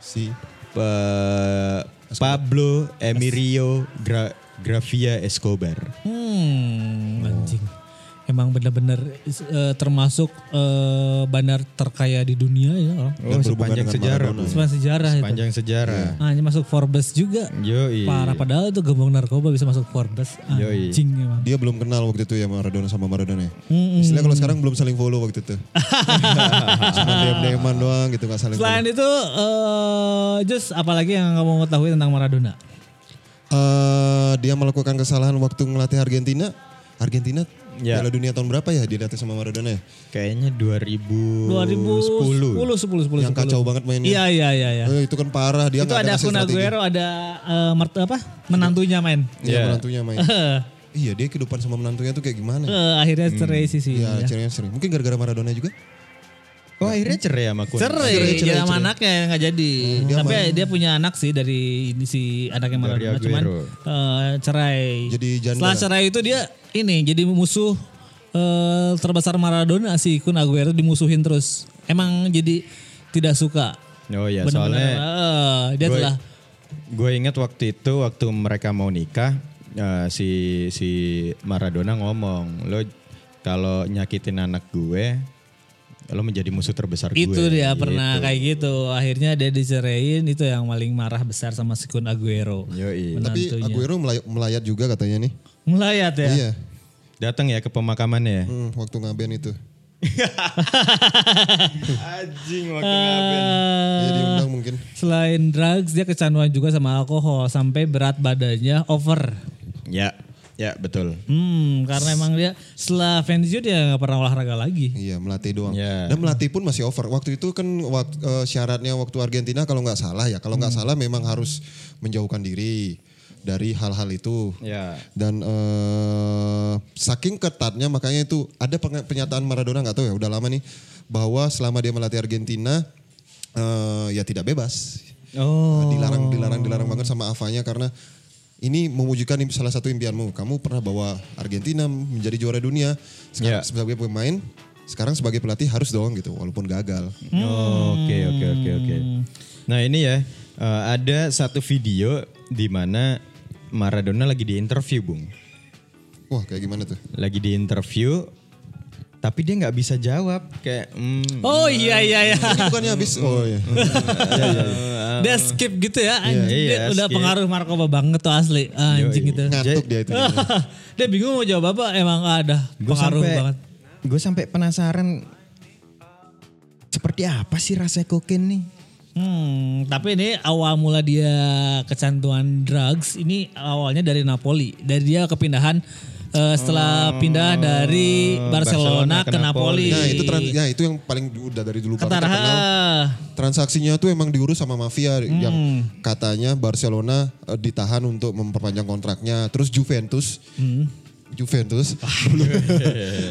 Si
Pe- Pablo Emilio Gra- Grafia Escobar.
Hmm, anjing. Emang emang bener-bener eh, termasuk eh, bandar terkaya di dunia ya. orang.
Oh, sepanjang sejarah. Bu.
Sepanjang sejarah itu.
Sepanjang Iya. sejarah.
Hanya masuk Forbes juga.
Yoi.
Parah padahal itu gembong narkoba bisa masuk Forbes.
Yoi.
Anjing emang.
Dia belum kenal waktu itu ya Maradona sama Maradona ya. Istilahnya kalau sekarang belum saling follow waktu itu. Cuma DM-DM-an doang gitu gak saling follow.
Selain itu eh Jus apalagi yang kamu ketahui tentang Maradona?
Eh, dia melakukan kesalahan waktu ngelatih Argentina. Argentina
Ya.
Piala Dunia tahun berapa ya dilatih sama Maradona ya?
Kayaknya 2010.
2010 10 10
Yang kacau banget mainnya.
Iya iya iya iya.
Eh, itu kan parah dia
Itu
nggak
ada
ngasih
Kun
strategi.
Aguero, ada eh, Mert- apa? Menantunya main.
Iya menantunya main. iya dia kehidupan sama menantunya tuh kayak gimana? ya?
Eh, akhirnya cerai sih sih.
Iya ceritanya sering. Mungkin gara-gara Maradona juga.
Oh akhirnya cerai sama Kun.
Cerai, dia sama anaknya nggak jadi. Tapi dia punya anak sih dari ini si anaknya Maradona, cuman
Aguero.
eh, cerai.
Jadi janda.
Setelah cerai itu dia ini jadi musuh eh, terbesar Maradona si Kun Aguero dimusuhin terus. Emang jadi tidak suka.
Oh ya soalnya
Bener-bener. eh, dia
gue-
telah
Gue ingat waktu itu waktu mereka mau nikah eh, si si Maradona ngomong lo kalau nyakitin anak gue lo menjadi musuh terbesar
itu
gue. Iya,
dia pernah kayak gitu. Akhirnya dia diceraiin itu yang paling marah besar sama si Kun Aguero.
Yoi.
Tapi
Menantunya.
Aguero melayat, melayat juga katanya nih.
Melayat ya.
Iya.
Datang ya ke pemakamannya.
Hmm, waktu ngaben itu.
Anjing
Eh,
Ya diundang mungkin.
Selain drugs, dia kecanduan juga sama alkohol sampai berat badannya over.
Ya, ya betul.
Hmm, karena emang dia setelah Fenzio dia nggak pernah olahraga lagi.
Iya melatih doang.
Iya.
Dan melatih pun masih over. Waktu itu kan wak- eh, syaratnya waktu Argentina kalau nggak salah ya. Kalau nggak
Hmm.
salah memang harus menjauhkan diri dari hal-hal itu.
Ya.
Dan eh, saking ketatnya makanya itu ada peng- pernyataan Maradona nggak tahu ya udah lama nih bahwa selama dia melatih Argentina eh, ya tidak bebas.
Oh.
Dilarang dilarang dilarang banget sama Avanya karena ini mewujudkan im- salah satu impianmu. Kamu pernah bawa Argentina menjadi juara dunia.
Ya.
Sekarang sebagai pemain, sekarang sebagai pelatih harus dong gitu walaupun gagal.
Hmm.
Oh, Oke oke oke oke. Nah ini ya eh, ada satu video di mana Maradona lagi diinterview bung,
Wah, kayak gimana tuh?
lagi diinterview, tapi dia nggak bisa jawab kayak. mm,
Oh iya iya iya.
Ini bukannya habis. Oh iya.
Dia skip gitu ya anjing. dia
Iya,
udah
skip.
pengaruh narkoba banget tuh asli. Ah, Anjing gitu.
Ngantuk dia itu. Nah,
dia bingung mau jawab apa emang ada
Gue
pengaruh
sampai
banget.
gue sampai penasaran seperti apa sih rasa kokain nih?
Hmm, tapi ini awal mula dia kecanduan drugs ini awalnya dari Napoli. Dari dia kepindahan eh, setelah
Oh,
pindah dari Barcelona,
Barcelona
ke,
ke
Napoli.
Napoli.
Nah, itu tran- ya itu yang paling udah dari dulu banget
Antara
terkenal. transaksinya tuh emang diurus sama mafia
Hmm.
yang katanya Barcelona eh, ditahan untuk memperpanjang kontraknya terus Juventus
Hmm.
Juventus
Ah.
belum-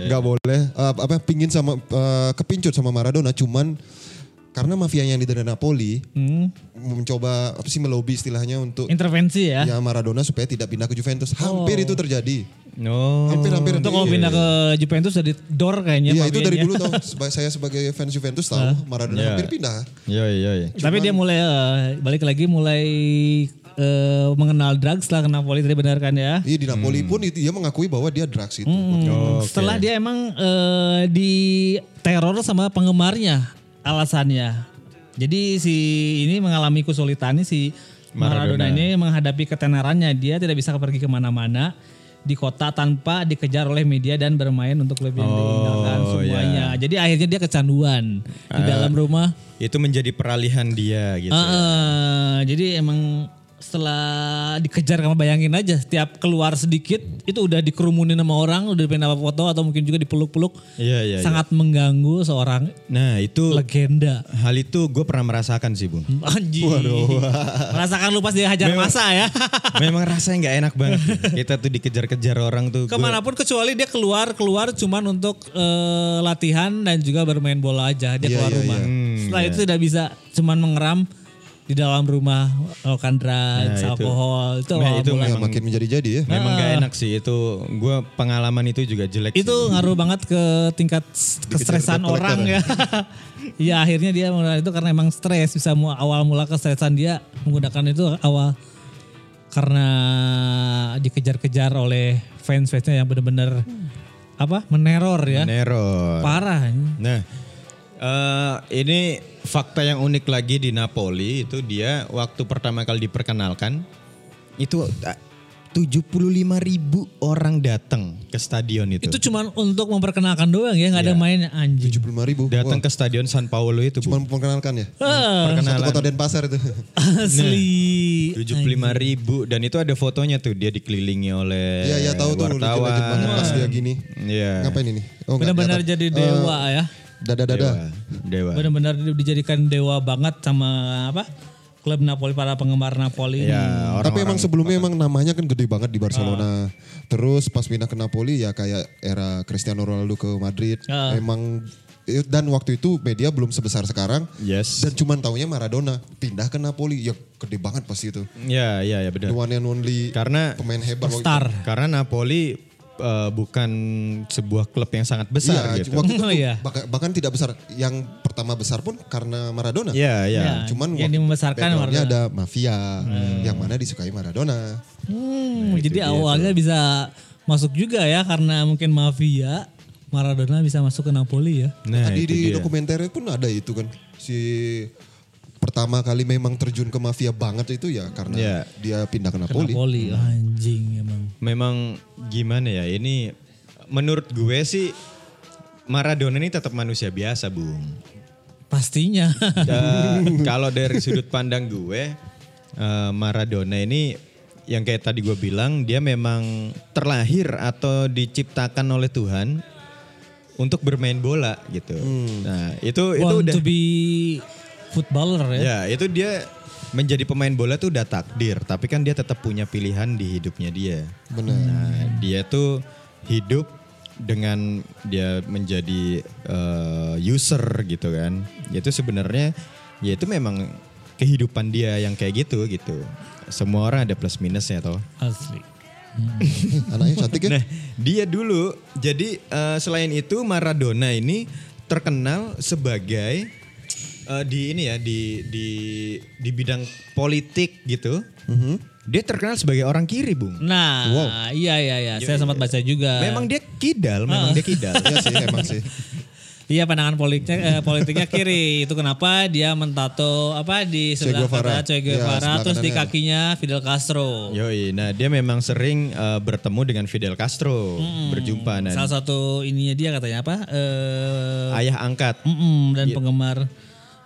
nggak boleh eh, apa pingin sama eh, kepincut sama Maradona cuman karena mafianya yang di dari Napoli
Hmm.
mencoba apa sih melobi istilahnya untuk
intervensi ya. Oh.
ya Maradona supaya tidak pindah ke Juventus hampir itu terjadi
No.
hampir-hampir
Untuk mau pindah ke Juventus dari door kayaknya.
Iya itu
mafianya.
dari dulu tau Seba- saya sebagai fans Juventus tahu Maradona
Iya.
hampir pindah
Yoi yoi.
Tapi dia mulai eh, balik lagi mulai eh, mengenal drugs setelah ke Napoli tadi benar kan ya.
Iya di Napoli
Hmm.
pun itu dia mengakui bahwa dia drugs itu.
Hmm, Setelah dia emang eh, di teror sama penggemarnya alasannya. Jadi si ini mengalami kesulitan nih si Maradona, ini menghadapi ketenarannya. Dia tidak bisa pergi kemana-mana di kota tanpa dikejar oleh media dan bermain untuk lebih ditinggalkan semuanya. Jadi akhirnya dia kecanduan di dalam rumah.
Itu menjadi peralihan dia gitu.
Eh, eh, jadi emang setelah dikejar kamu bayangin aja setiap keluar sedikit itu udah dikerumunin sama orang udah pengen dapat foto atau mungkin juga dipeluk-peluk
Iya iya. iya.
sangat mengganggu seorang
Nah itu
legenda
hal itu gue pernah merasakan sih bung.
anjing rasakan lu pas dia hajar masa ya
Memang rasanya nggak enak banget. Kita tuh dikejar-kejar orang tuh. Gua-
kemanapun kecuali dia keluar keluar cuman untuk eh, latihan dan juga bermain bola aja dia
Iya,
keluar rumah
Hmm,
setelah itu tidak bisa cuman mengeram di dalam rumah melakukan drugs, alkohol itu, awal
Nah, itu
mulanya.
Ya, makin menjadi-jadi ya.
Memang nggak enak sih itu. Gue pengalaman Ah. itu juga jelek.
itu ngaruh banget ke tingkat s- kestresan orang ya. ya akhirnya dia menggunakan itu karena emang stres bisa mu- awal mula kestresan dia menggunakan itu awal karena dikejar-kejar oleh fans-fansnya yang benar-benar apa meneror ya
Neror.
parah
Nah, eh, ini fakta yang unik lagi di Napoli itu dia waktu pertama kali diperkenalkan itu eh, 75.000 ribu orang datang ke stadion itu.
itu cuman untuk memperkenalkan doang ya nggak ada main anjing
75 ribu.
datang ke stadion San Paolo itu
Cuma
Bu.
memperkenalkan ya.
Ah,
Satu
perkenalan
kota Denpasar itu.
asli
75.000 ribu dan itu ada fotonya tuh dia dikelilingi oleh
Iya, iya tahu tuh
Eh, wartawan.
legend-legend banget pas dia gini.
Iya.
Ngapain ini? Oh, nggak
benar-benar
kelihatan.
jadi dewa ya
Iya,
Dada-dada.
Dewa. Dewa.
benar-benar dijadikan dewa banget sama apa klub Napoli para penggemar Napoli
Ya,
Tapi
orang-orang
emang sebelumnya emang namanya kan gede banget di
Ah.
Barcelona. Terus pas pindah ke Napoli ya kayak era Cristiano Ronaldo ke Madrid.
Ah.
Emang ya, dan waktu itu media belum sebesar sekarang.
Yes.
Dan cuman taunya Maradona pindah ke Napoli. Ya gede banget pasti itu.
Ya, ya, ya
The
benar.
one and only
Karena
pemain hebat. waktu
star
Karena Napoli eh, bukan sebuah klub yang sangat besar
Iya,
gitu.
waktu itu
Oh, iya.
bahkan, bahkan tidak besar. Yang pertama besar pun karena Maradona.
Iya, iya.
Ya,
Cuman
yang
waktu
membesarkan
backgroundnya
Maradona.
ada mafia yang mana disukai Maradona.
Hmm, jadi awalnya bisa masuk juga ya karena mungkin mafia Maradona bisa masuk ke Napoli ya.
Nah,
Tadi
itu
di
dia.
dokumenternya pun ada itu kan si pertama kali memang terjun ke mafia banget itu ya karena
Iya.
dia pindah ke Napoli.
Napoli anjing emang.
memang gimana ya ini menurut gue sih Maradona ini tetap manusia biasa, Bung.
Pastinya.
Da- kalau dari sudut pandang gue eh, Maradona ini yang kayak tadi gue bilang dia memang terlahir atau diciptakan oleh Tuhan untuk bermain bola gitu. Nah, itu itu
Want
udah
Hmm. to be footballer ya.
Ya itu dia menjadi pemain bola tuh udah takdir, tapi kan dia tetap punya pilihan di hidupnya dia.
Benar.
Nah dia tuh hidup dengan dia menjadi eh, user gitu kan. Itu sebenarnya ya itu memang kehidupan dia yang kayak gitu gitu. Semua orang ada plus minusnya toh.
Asli.
Anaknya cantik ya.
Nah, dia dulu. Jadi eh, selain itu Maradona ini terkenal sebagai eh, di ini ya di di di bidang politik gitu.
Mhm.
Dia terkenal sebagai orang kiri, Bung.
Nah, iya iya iya, saya sempat baca juga.
Memang dia kidal, memang dia kidal.
Iya sih emang sih.
Iya pandangan politiknya eh, politiknya kiri. Itu kenapa dia mentato apa di
Che
sebelah kanan
Guevara.
Che
Iya,
Guevara
sebelah
terus di
kanannya.
kakinya Fidel Castro.
Yoi, nah dia memang sering eh, bertemu dengan Fidel Castro, berjumpa nah,
Hmm, Salah satu ininya dia katanya apa? Eh
ayah angkat.
Mm-mm, dan penggemar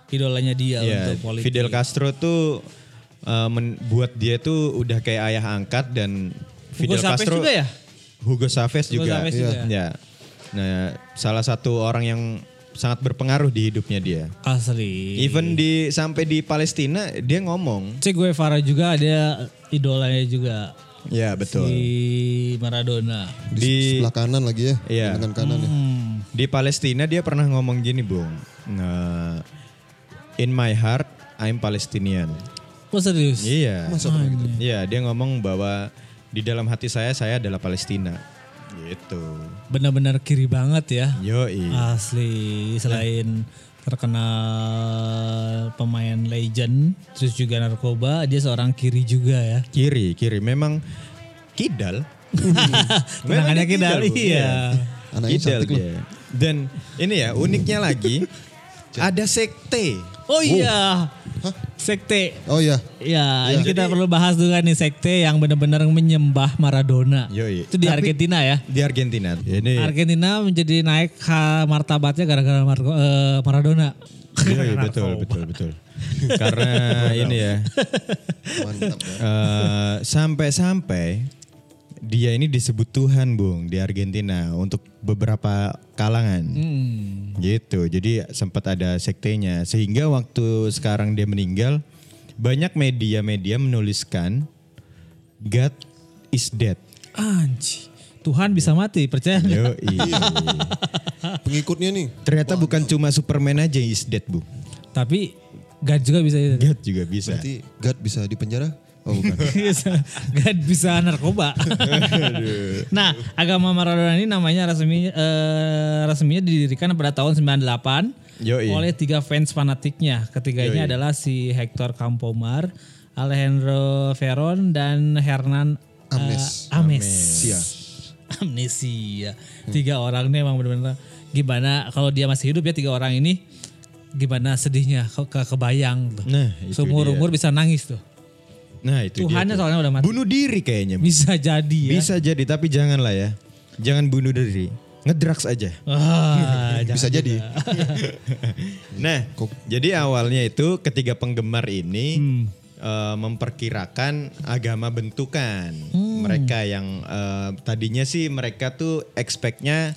idolanya dia
Iya,
untuk politik.
Fidel Castro tuh eh, membuat dia tuh udah kayak ayah angkat dan Fidel
Chavez
Castro
juga ya?
Hugo Chavez
Hugo
juga.
Chavez
Iya.
juga. ya?
Iya. Nah, salah satu orang yang sangat berpengaruh di hidupnya dia.
Asli.
Even di sampai di Palestina dia ngomong.
Che Guevara juga ada idolanya juga.
Ya, betul.
Di Maradona. Hmm.
Di,
Di-
sebelah kanan lagi ya.
Iya.
Dengan kanan ya.
Di Palestina dia pernah ngomong gini, Bung. Nah, in my heart I'm Palestinian.
Oh serius?
Iya.
gitu?
Iya, dia ngomong bahwa di dalam hati saya saya adalah Palestina. Gitu.
Benar-benar kiri banget ya.
Yoi.
Asli. Selain terkenal pemain legend, terus juga narkoba, dia seorang kiri juga ya.
Kiri, kiri memang kidal.
Tenangannya kidal,
Bu.
iya.
Anaknya
Kidal
cantik loh.
dia. Dan ini ya uniknya
Hmm.
lagi ada sekte.
Oh iya. Sekte.
Oh iya.
Ya, ini kita perlu bahas juga nih sekte yang benar-benar menyembah Maradona.
Yoi.
Itu
Iya.
di Argentina ya.
Di Argentina. Ini
Argentina menjadi naik ha- martabatnya gara-gara Marco- eh, Maradona.
Yoi, betul, betul, betul. Karena ini ya.
Mantap ya.
eh, sampai-sampai dia ini disebut Tuhan, Bung, di Argentina untuk beberapa kalangan. Gitu. Jadi sempat ada sektenya sehingga waktu sekarang dia meninggal banyak media-media menuliskan God is dead.
Anji, Tuhan bisa mati, percaya nggak?
Yoi.
Pengikutnya nih.
iya. Ternyata bukan cuma Superman aja yang is dead, Bu.
Tapi God juga bisa itu.
God juga bisa.
Berarti God bisa dipenjara? Oh bukan.
God bisa narkoba. nah, agama Maradona ini namanya resmi eh, resminya didirikan pada tahun 98
Yoi.
oleh tiga fans fanatiknya. Ketiganya adalah si Hector Campomar, Alejandro Veron dan Hernan eh,
Ames.
Ames.
Sia.
amnesia. Tiga orang ini emang benar-benar gimana kalau dia masih hidup ya tiga orang ini gimana sedihnya ke, ke- kebayang tuh.
Nah, itu
Seumur
dia.
umur bisa nangis tuh.
Nah itu
Tuhannya
dia. tuh.
soalnya udah mati.
Bunuh diri kayaknya.
Bisa jadi ya.
Bisa jadi tapi janganlah ya. Jangan bunuh diri. Ngedrugs aja.
Ah,
Bisa
jangan
jadi.
juga.
Nah, jadi awalnya itu ketiga penggemar ini
Hmm.
eh, memperkirakan agama bentukan.
Hmm.
Mereka yang eh, tadinya sih mereka tuh expect-nya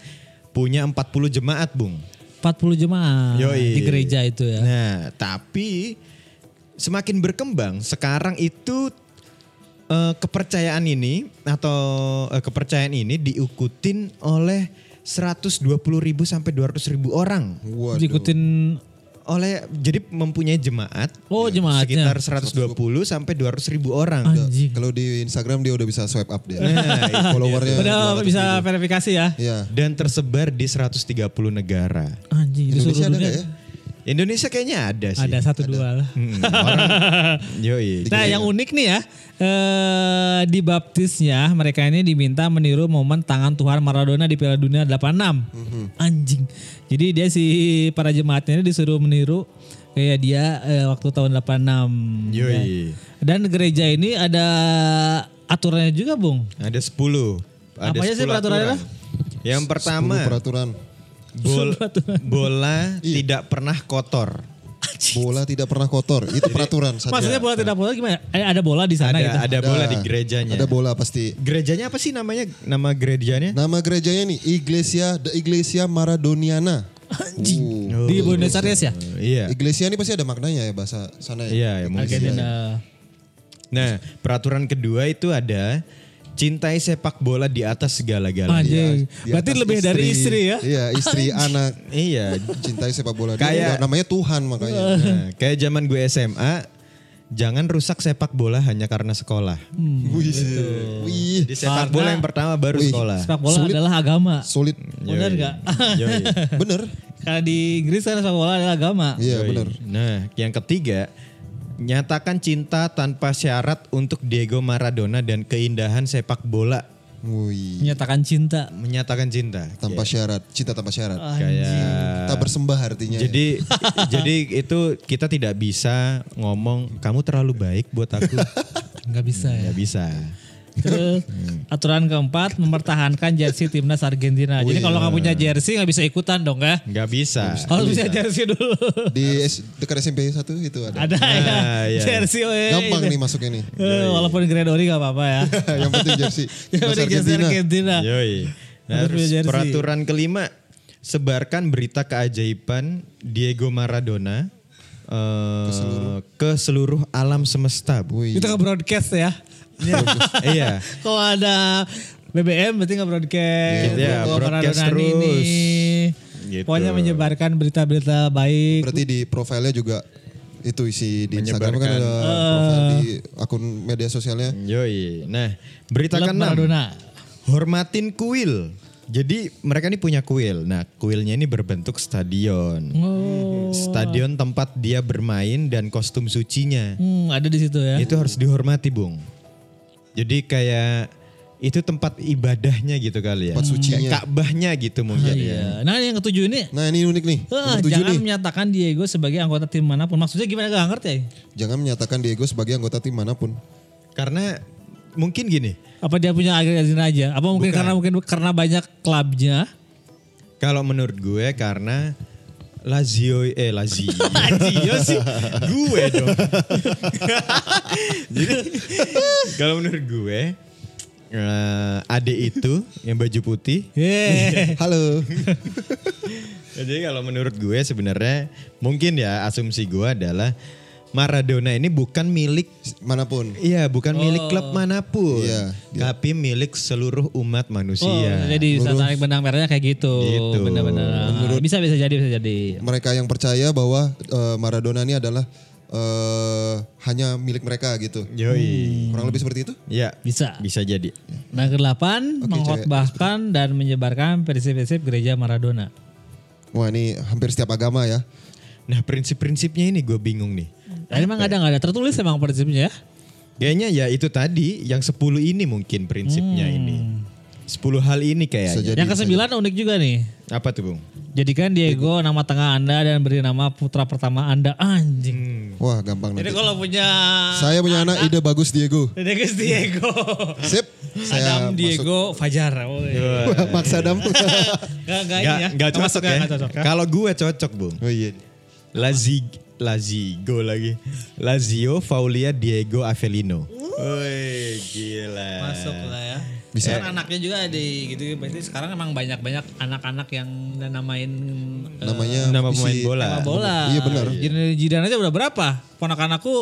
punya 40 jemaat, Bung.
40 jemaah
Yoi.
Ah, di gereja itu ya.
Nah, tapi semakin berkembang sekarang itu eh, kepercayaan ini atau eh, kepercayaan ini diikutin oleh 120.000 sampai 200.000 orang.
Waduh.
Diikutin
oleh jadi mempunyai jemaat
Oh, jemaatnya.
Iya, sekitar 120 sampai 200 ribu orang
anjing.
Eh, Kalau di Instagram dia udah bisa swipe up dia.
Nah, itu
Followernya.
iya, Padahal
200
bisa
ribu.
verifikasi ya.
Iya.
dan tersebar di 130 negara
Anjing, itu
Indonesia
seluruh
ada
dunia.
nggak ya?
Indonesia kayaknya ya? ada sih
Ada satu dua lah.
Hmm, orang- yoi
Nah, yang unik nih ya, eh, di baptisnya mereka ini diminta meniru momen tangan Tuhan Maradona di Piala Dunia 86. Anjing. Jadi dia si para jemaatnya ini disuruh meniru kayak dia eh, waktu tahun Ya. 86.
yoi
Dan gereja ini ada aturannya juga, Bung.
ada 10 ada
Apa aja sih
10
peraturannya?
aturan. yang
10
pertama
peraturan.
bol- bola tidak pernah kotor
Bola tidak pernah kotor. Itu peraturan saja.
Maksudnya bola tidak bola gimana? Eh, ada bola di sana
ada
gitu.
ada bola di gerejanya
Ada Nah, bola pasti.
gerejanya apa sih namanya nama gerejanya
Nama gerejanya nih Iglesia The Iglesia Maradoniana. Anjing.
Di Buenos Aires ya?
iya
Iglesia ini pasti ada maknanya ya bahasa sana ya.
iya ya, mungkin
Argentina.
Nah, peraturan kedua itu ada cintai sepak bola di atas segala-galanya.
Anjing.
Di
Berarti
atas
lebih dari istri ya?
Iya, istri, anak,
Iya.
cintai sepak bola.
Kayak-
Kayak namanya Tuhan makanya.
Nah, kayak zaman gue SMA, jangan rusak sepak bola hanya karena sekolah.
Hmm.
Wih. Wih.
Jadi sepak bola yang pertama baru sekolah.
Sepak bola
Sulit.
adalah agama.
Sulit.
Benar nggak?
Yoi.
Bener.
Karena di Inggris kan sepak bola adalah agama.
Iya,
Yoi.
bener.
Nah, yang ketiga, nyatakan cinta tanpa syarat untuk Diego Maradona dan keindahan sepak bola.
Wih.
Menyatakan cinta.
Menyatakan cinta.
Iya.
Tanpa syarat, cinta tanpa syarat.
Ah.
Kayak
Tak bersembah artinya.
Ah.
ya.
Jadi jadi itu kita tidak bisa ngomong kamu terlalu baik buat aku.
Nggak bisa ya.
Nggak bisa.
Terus aturan keempat mempertahankan jersey timnas Argentina. Jadi kalau nggak punya jersey nggak bisa ikutan dong ya.
Nggak bisa.
Harus punya jersey dulu.
di S- dekat SMP 1 itu gitu ada.
Ada ya.
iya.
Jersey we.
Gampang nih masuk ini.
Eh, walaupun Gregory nggak apa-apa ya.
yang penting jersey.
Yang
Timnas
penting jersey
Argentina.
Argentina.
Yoi. Nah,
Harus
terus
punya jersey.
peraturan kelima sebarkan berita keajaiban Diego Maradona eh, ke, seluruh. alam semesta, Bu.
Wih.
Itu nggak broadcast ya.
iya.
Kalau ada BBM berarti nggak broadcast.
Gitu ya,
Kalau
broadcast
Maradona ini
terus.
nih.
Gitu.
Pokoknya menyebarkan berita-berita baik.
Berarti di profilnya juga itu isi di Instagram kan ada profil di akun media sosialnya.
Yoi. Nah,
Klub
berita keenam.
Maradona.
Hormatin kuil. Jadi mereka ini punya kuil. Nah, kuilnya ini berbentuk stadion. Stadion tempat dia bermain dan kostum sucinya.
Hmm, ada di situ ya.
Itu harus dihormati, Bung. Jadi kayak itu tempat ibadahnya gitu kali ya.
Tempat sucinya.
Kayak Ka'bahnya gitu mungkin ya.
Iya. Nah yang ketujuh ini,
Nah ini unik nih.
eh,
Nomor tujuh
jangan
nih.
menyatakan Diego sebagai anggota tim manapun. Maksudnya gimana gak ngerti ya?
Jangan menyatakan Diego sebagai anggota tim manapun.
Karena mungkin gini,
Apa dia punya agenda aja? Apa mungkin karena mungkin karena banyak klubnya?
kalau menurut gue karena Lazio eh Lazio. Lazio sih gue dong. Jadi kalau menurut gue eh, Ade itu yang baju putih.
Yeay.
Halo.
Ya, Jadi kalau menurut gue sebenarnya mungkin ya asumsi gue adalah Maradona ini bukan milik
manapun.
Iya,
Oh.
bukan milik klub manapun,
Iya,
tapi milik seluruh umat
Oh,
manusia.
jadi bisa tarik benang merahnya kayak gitu.
Iya. Gitu.
Benar-benar. Bisa bisa jadi bisa jadi.
Mereka yang percaya bahwa eh, Maradona ini adalah eh, hanya milik mereka gitu.
Yoi.
Kurang lebih seperti itu.
Ya,
Hmm. Bisa.
bisa jadi.
Nah ke-8 mengkhotbahkan dan menyebarkan prinsip-prinsip gereja Maradona.
Wah ini hampir setiap agama ya.
Nah, prinsip-prinsipnya ini gue bingung nih.
Nah, emang ada nggak ada tertulis emang prinsipnya ya? Hmm.
Kayaknya ya itu tadi yang 10 ini mungkin prinsipnya ini. 10 10 hal ini kayaknya.
Sejak-
Yang kesembilan unik juga nih.
Apa tuh, Bung?
Jadikan Diego nama tengah Anda dan beri nama putra pertama Anda anjing.
Wah gampang
Jadi
nanti.
kalau punya
Saya punya anak ide bagus Diego.
Dedekus Diego.
Sip. Saya
Adam Diego Iya. Fajar. Woi.
masuk. Maksa Adam.
Enggak enggak ini ya.
Gak, gak
Nggak nggak,
cocok ya.
nggak cocok.
Kalau gue cocok, Bung.
oh iya.
Lazig Lazigo lagi. Lazio Faulia Diego Avellino. Woi, gila.
Masuk lah ya.
Bisa.
Kan anaknya juga di gitu berarti sekarang emang banyak-banyak anak-anak yang namain eh,
Namanya
Ya, Nama
isi-
pemain bola.
nama bola.
Iya, benar.
Jidan- Jidan aja udah berapa? Ponakan aku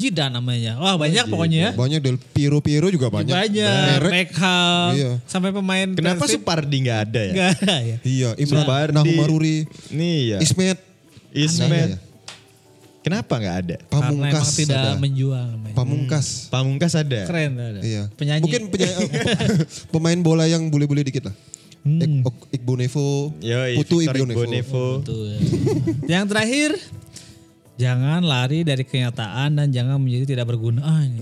Jidan namanya. Wah, banyak pokoknya ya.
Iya, Banyak Del Piro Piro juga banyak.
Banyak,
Merek.
Beckham,
Iya.
sampai pemain
Kenapa
Persib
Supardi nggak ada ya?
enggak ada ya?
Iya, Imran Nahumaruri,
Nih ya.
Ismet,
Ismet.
Aneh ya.
Kenapa nggak ada?
Karena emang
Pamungkas.
tidak
ada.
menjual namanya.
Pamungkas.
Pamungkas ada.
Keren ada.
Iya.
Penyanyi.
Mungkin penya- pemain bola yang bule-bule dikit lah.
Hmm.
Ik, Ok- Igbo Nevo,
Yoi,
Putu
Victor
Igbo
Igbo
Nevo.
Nevo.
Betul. Yang terakhir, jangan lari dari kenyataan dan jangan menjadi tidak berguna. Ah, ini.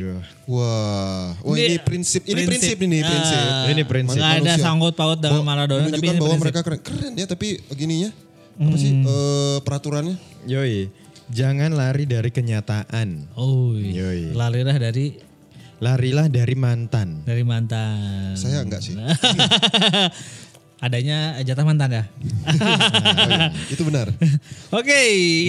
Aduh.
Wah, wah ini, prinsip, ini prinsip, ini
Ah,
prinsip.
Ini prinsip.
nggak ada
Manusia.
sangkut paut dengan Maradona, tapi
Menunjukkan
ini Hmm.
bahwa
prinsip.
mereka keren, keren ya tapi gininya apa sih eh, peraturannya?
Yoi, jangan lari dari kenyataan.
Oh,
Yoi.
larilah dari
Larilah dari mantan.
dari mantan.
Saya enggak sih.
Nah. Adanya jatah mantan ya.
Itu benar.
Oke,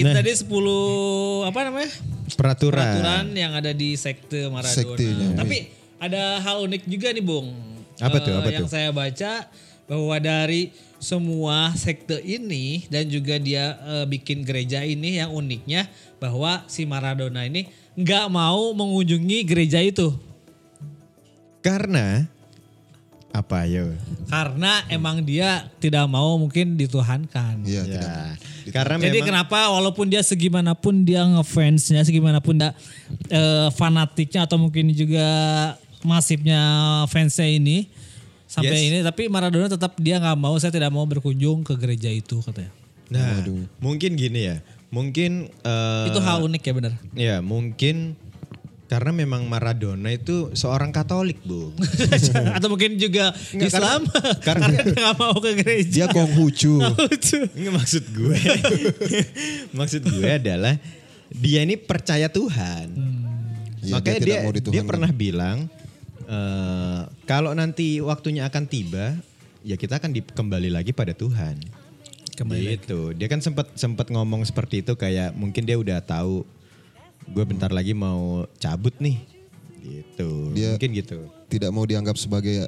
Nah.
itu tadi 10 apa namanya?
Peraturan.
Peraturan yang ada di sekte Maradona.
Sektenya, iya.
Tapi ada hal unik juga nih, Bung.
Apa tuh,
Eh,
apa
yang
tuh?
saya baca bahwa dari semua sekte ini dan juga dia eh, bikin gereja ini yang uniknya bahwa si Maradona ini nggak mau mengunjungi gereja itu
Karena apa yo?
karena emang dia tidak mau mungkin dituhankan.
Iya, tidak.
Ya. Karena
Jadi
memang
kenapa walaupun dia segimanapun dia ngefansnya, segimanapun dia eh, fanatiknya atau mungkin juga masifnya fansnya ini sampai
Yes.
ini, tapi Maradona tetap dia nggak mau, saya tidak mau berkunjung ke gereja itu katanya.
nah, mungkin gini ya. Mungkin eh,
itu hal unik ya benar.
Ya mungkin karena memang Maradona itu seorang Katolik bu.
atau mungkin juga
Nggak,
Islam
karena-
karena,
karena-
dia nggak mau ke gereja.
Dia Konghucu.
Lucu.
Nggak maksud gue, maksud gue adalah dia ini percaya Tuhan.
Iya,
Hmm. Makanya
dia
dia
tidak mau
dia,
dituhankan.
pernah bilang eh, kalau nanti waktunya akan tiba ya kita akan di- kembali lagi pada Tuhan.
Kembali
gitu. Dia kan sempat sempat ngomong seperti itu kayak mungkin dia udah tahu gue bentar lagi mau cabut nih. Gitu.
Dia-
mungkin gitu.
tidak mau dianggap sebagai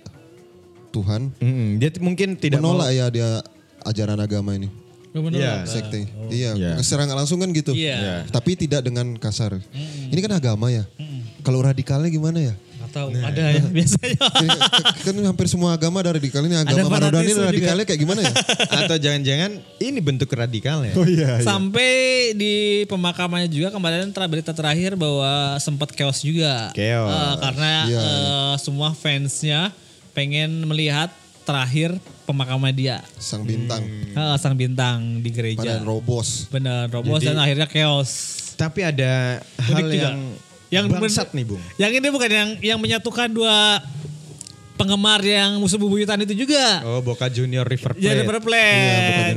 Tuhan.
Mm, dia t- mungkin tidak
Menolak ya dia ajaran agama ini.
Nggak bener
Iya.
apa?
Sekte. Iya,
Iya.
serang langsung kan
Oh.
gitu.
Iya. Hmm. Iya.
Tapi tidak dengan kasar. Ini kan agama ya.
Hmm.
Kalau radikalnya gimana ya?
Nggak tahu
Nah.
ada ya biasanya.
Ini kan hampir semua agama ada radikal ini agama
Ada
Maradona ini
fanatisme juga.
radikalnya kayak gimana ya?
mau atau jangan-jangan ini bentuk radikalnya.
iya.
Sampai di pemakamannya juga kemarin ter berita terakhir bahwa sempat chaos juga.
Chaos.
Eh, karena
Iya,
eh, semua fansnya pengen melihat terakhir pemakaman dia.
Sang bintang
Hmm.
Eh, sang bintang di
pada
gereja.
Robos.
Benar, robos dan akhirnya chaos.
Tapi ada hal
juga.
yang
Yang
bangsat
ben-
nih, Bung.
Yang ini bukan yang yang menyatukan dua penggemar yang musuh bubuyutan itu juga.
Oh, Boca Junior River Plate.
Iya,
Jadi berplay.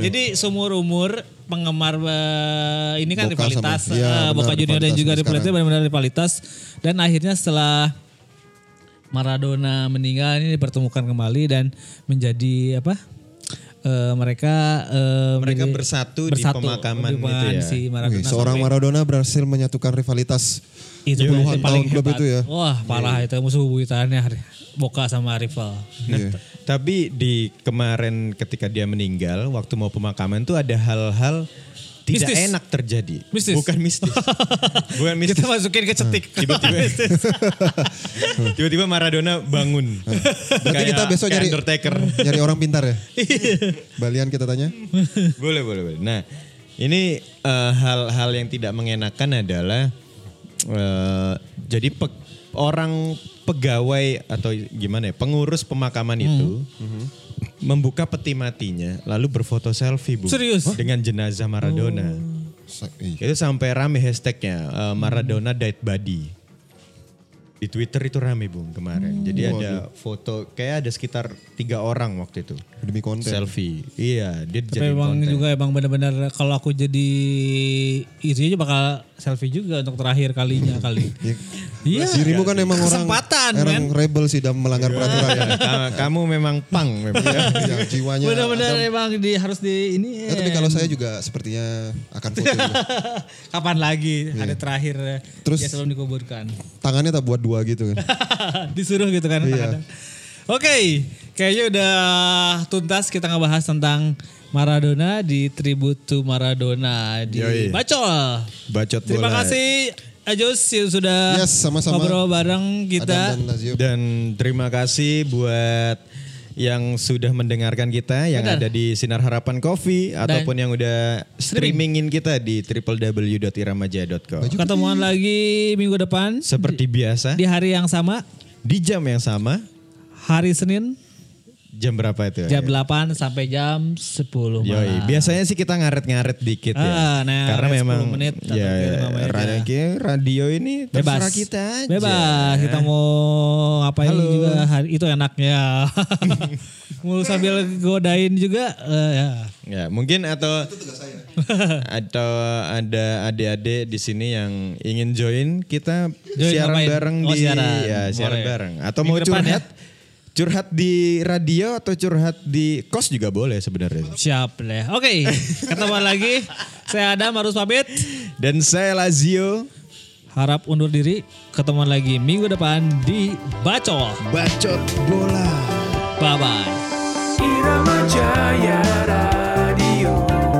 Jadi seumur umur penggemar eh, ini kan
Boca
rivalitas
sama- iya,
eh,
benar,
Boca Junior dan
rivalitas
juga
sampai
River Plate
sekarang.
benar-benar rivalitas dan akhirnya setelah Maradona meninggal ini dipertemukan kembali dan menjadi apa? Eh, mereka eh,
Mereka
menjadi-
bersatu di
di
pemakaman gitu
pemakaman
ya.
si Maradona.
Wih, seorang Iya,
sampai-
Maradona berhasil menyatukan rivalitas.
itu
puluhan
paling
tahun klub
hebat. Oh.
itu ya.
Wah, parah
Iya.
itu musuh bubuyutannya Boca sama rival.
Iya.
Tapi di kemarin ketika dia meninggal, waktu mau pemakaman tuh ada hal-hal tidak
Mistis.
enak terjadi.
Mistis.
Bukan mistis. Bukan mistis.
Kita masukin ke cetik.
Tiba-tiba tiba-tiba Maradona bangun.
Berarti kita besok
kayak
nyari
Undertaker.
nyari orang pintar ya.
Iya.
Balian kita tanya.
boleh boleh boleh. Nah ini eh, hal-hal yang tidak mengenakan adalah eh, jadi pe- orang pegawai atau gimana ya pengurus pemakaman itu
Hmm.
membuka peti matinya lalu berfoto selfie bu
Serius? Oh.
dengan jenazah Maradona.
Sa- ih,
Itu sampai rame hashtagnya eh, Maradona dead body. Di Twitter itu rame Bung kemarin. Jadi
Hmm.
ada foto kayak ada sekitar tiga orang waktu itu.
demi konten.
Selfie. Iya, dia
Tapi
jadi
emang
konten.
juga emang benar-benar kalau aku jadi isinya bakal selfie juga untuk terakhir kalinya kali.
Ya,
Iya.
Dirimu kan emang orang
Kesempatan, kan?
orang rebel sih dan melanggar peraturan.
Iya, ka- Kamu memang pang memang.
Ya, jiwanya.
Benar-benar emang di, harus di ini.
Ya, tapi kalau saya juga sepertinya akan foto.
Kapan lagi hari terakhir
Iya.
eh,
Terus-
dia selalu dikuburkan.
Tangannya tak buat dua gitu kan.
Disuruh gitu kan
Iya.
kadang-kadang. Oke, kayaknya udah tuntas kita ngebahas tentang Maradona di tribute to Maradona di
Yoi.
Bacol.
Bacot
Terima
bola.
kasih Ajus yang sudah
Yes, sama-sama.
ngobrol bareng kita.
Adam dan Lazio.
Dan terima kasih buat yang sudah mendengarkan kita yang
Benar.
ada di Sinar Harapan Coffee ataupun yang udah streamingin kita di www.iramaja.com.
Ketemuan lagi minggu depan
Seperti biasa
di hari yang sama,
di jam yang sama
hari Senin
jam berapa itu? Ya?
jam 8 sampai jam 10
Yoi,
malam.
biasanya sih kita ngaret-ngaret dikit ya.
Ah, nah,
Karena
ngaret
memang
10 menit atau
ya,
5 menit
radio, radio ini
Bebas.
terserah kita aja.
Bebas. Kita mau ngapain juga hari itu enaknya. Mulu sambil godain juga eh, ya.
Ya, mungkin atau atau ada adik-adik di sini yang ingin join kita
Join
siaran
ngapain?
bareng
Oh,
di
siaran.
ya, siaran
Boleh.
bareng atau
Minggu
mau
depan ya.
curhat curhat di radio atau curhat di kos juga boleh sebenarnya.
Siap deh. Oke, ketemu lagi. Saya Adam harus pamit.
Dan saya Lazio
Harap undur diri. Ketemu lagi minggu depan di Bacol.
bacot bola.
Bye bye.
Irama Jaya Radio